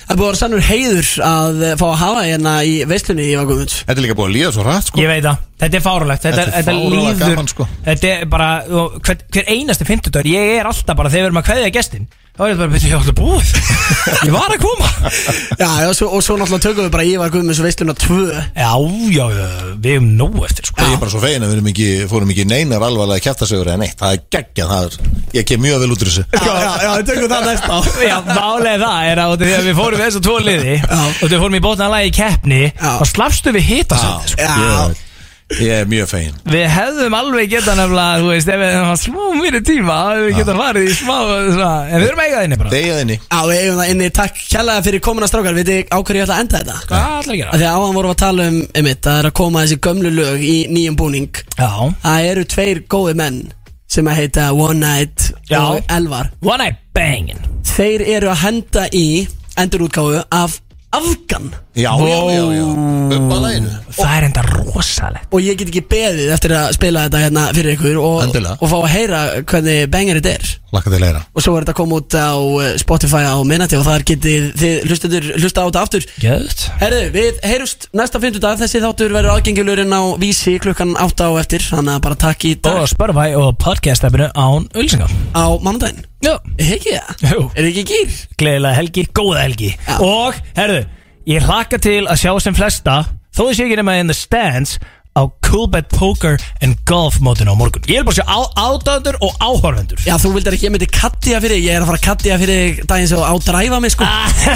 D: það er búið að vera sannur heiður að eh, fá að hafa hérna í veislunni í Vakumunds
C: Þetta er líka búið að líða svo rætt sko.
B: Ég veit það, þetta er fárulegt Þetta,
C: Þetta er fáránlega
B: líður
C: gaman, sko.
B: Þetta er bara, og hver, hver einasti fimmtudagur Ég er alltaf bara, þegar við erum að kveðja gestinn Þá er þetta bara, betur ég alltaf búið Ég var að koma
D: Já, já svo, og svo náttúrulega tökum við bara Ívar Guðmunds veisluna 2
B: Já, já, já, við erum nóg eftir sko.
C: Ég er bara svo fegin að við erum ekki, fórum ekki í neinar alvarlega kjæftasögur eða neitt, það er geggjað, það er, ég kem mjög vel út úr þessu.
D: Já, já, já, tökum það næst á
B: Já, málega það er að út af því að við fórum við þessu tvo liði
D: Já.
B: og þegar við fórum í bótnaðalagi í keppni
D: Já.
B: og slafstu við hita
C: Já, ég, ég er mjög fegin.
B: Við hefðum alveg geta nefnilega, þú veist, ef við hefðum haft smá meiri tíma þá hefðum við geta farið í smá, svona, en við erum eigað þinni bara
C: Degiðinni,
D: Já, við eigum það inni, takk kjærlega fyrir komuna strákar Við þið á hverju ég ætla að enda þetta?
B: Hvað ætlar að gera?
D: Þegar áðan vorum við að tala um, einmitt, það er að koma þessi gömlu lög í nýjum búning
B: Já,
D: Það eru tveir góði menn sem að heita One Night
B: Já.
D: og Elvar
B: one night bangin
D: Þeir eru að henda í endurútgáfu af Afgan
C: já, já, já, já, uppalaginu.
B: Það er enda rosalegt
D: Og ég get ekki beðið eftir að spila þetta hérna fyrir ykkur og,
C: Endilega.
D: og fá að heyra hvernig bengar þetta er
C: Laka til leira.
D: Og svo er þetta að koma út á eh, Spotify á minnati og þar getið þið hlustendur hlusta á þetta aftur
B: Gjöðt
D: Herðu, við heyrust næsta fyndudag Þessi þáttur verður aðgengilurinn á vísi klukkan 8 á eftir Þannig að bara takk í dag
B: Og spörfæ og podcast-appinu án Ulsinga
D: á mánudaginn
B: Já
D: Hegge það?
B: Jú.
D: Er ekki gýr?
B: Gleðilega helgi, góða helgi
D: Já.
B: Og, herðu, ég hlakka til að sjá sem flesta Þó þess ég ekki nema in the stands á Coolbet Poker and Golf mótinu á morgun Ég er bara að sjá átaðundur og áhorfendur
D: Já, þú vildir ekki, ég myndi kattja fyrir þig Ég er að fara að kattja fyrir þig daginn sem þú ádræfa mig, sko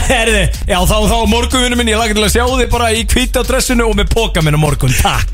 B: Herði, já þá, þá á morgun vinnu minn Ég lagði til að sjá þig bara í hvíta dressinu og með póka minn á morgun Takk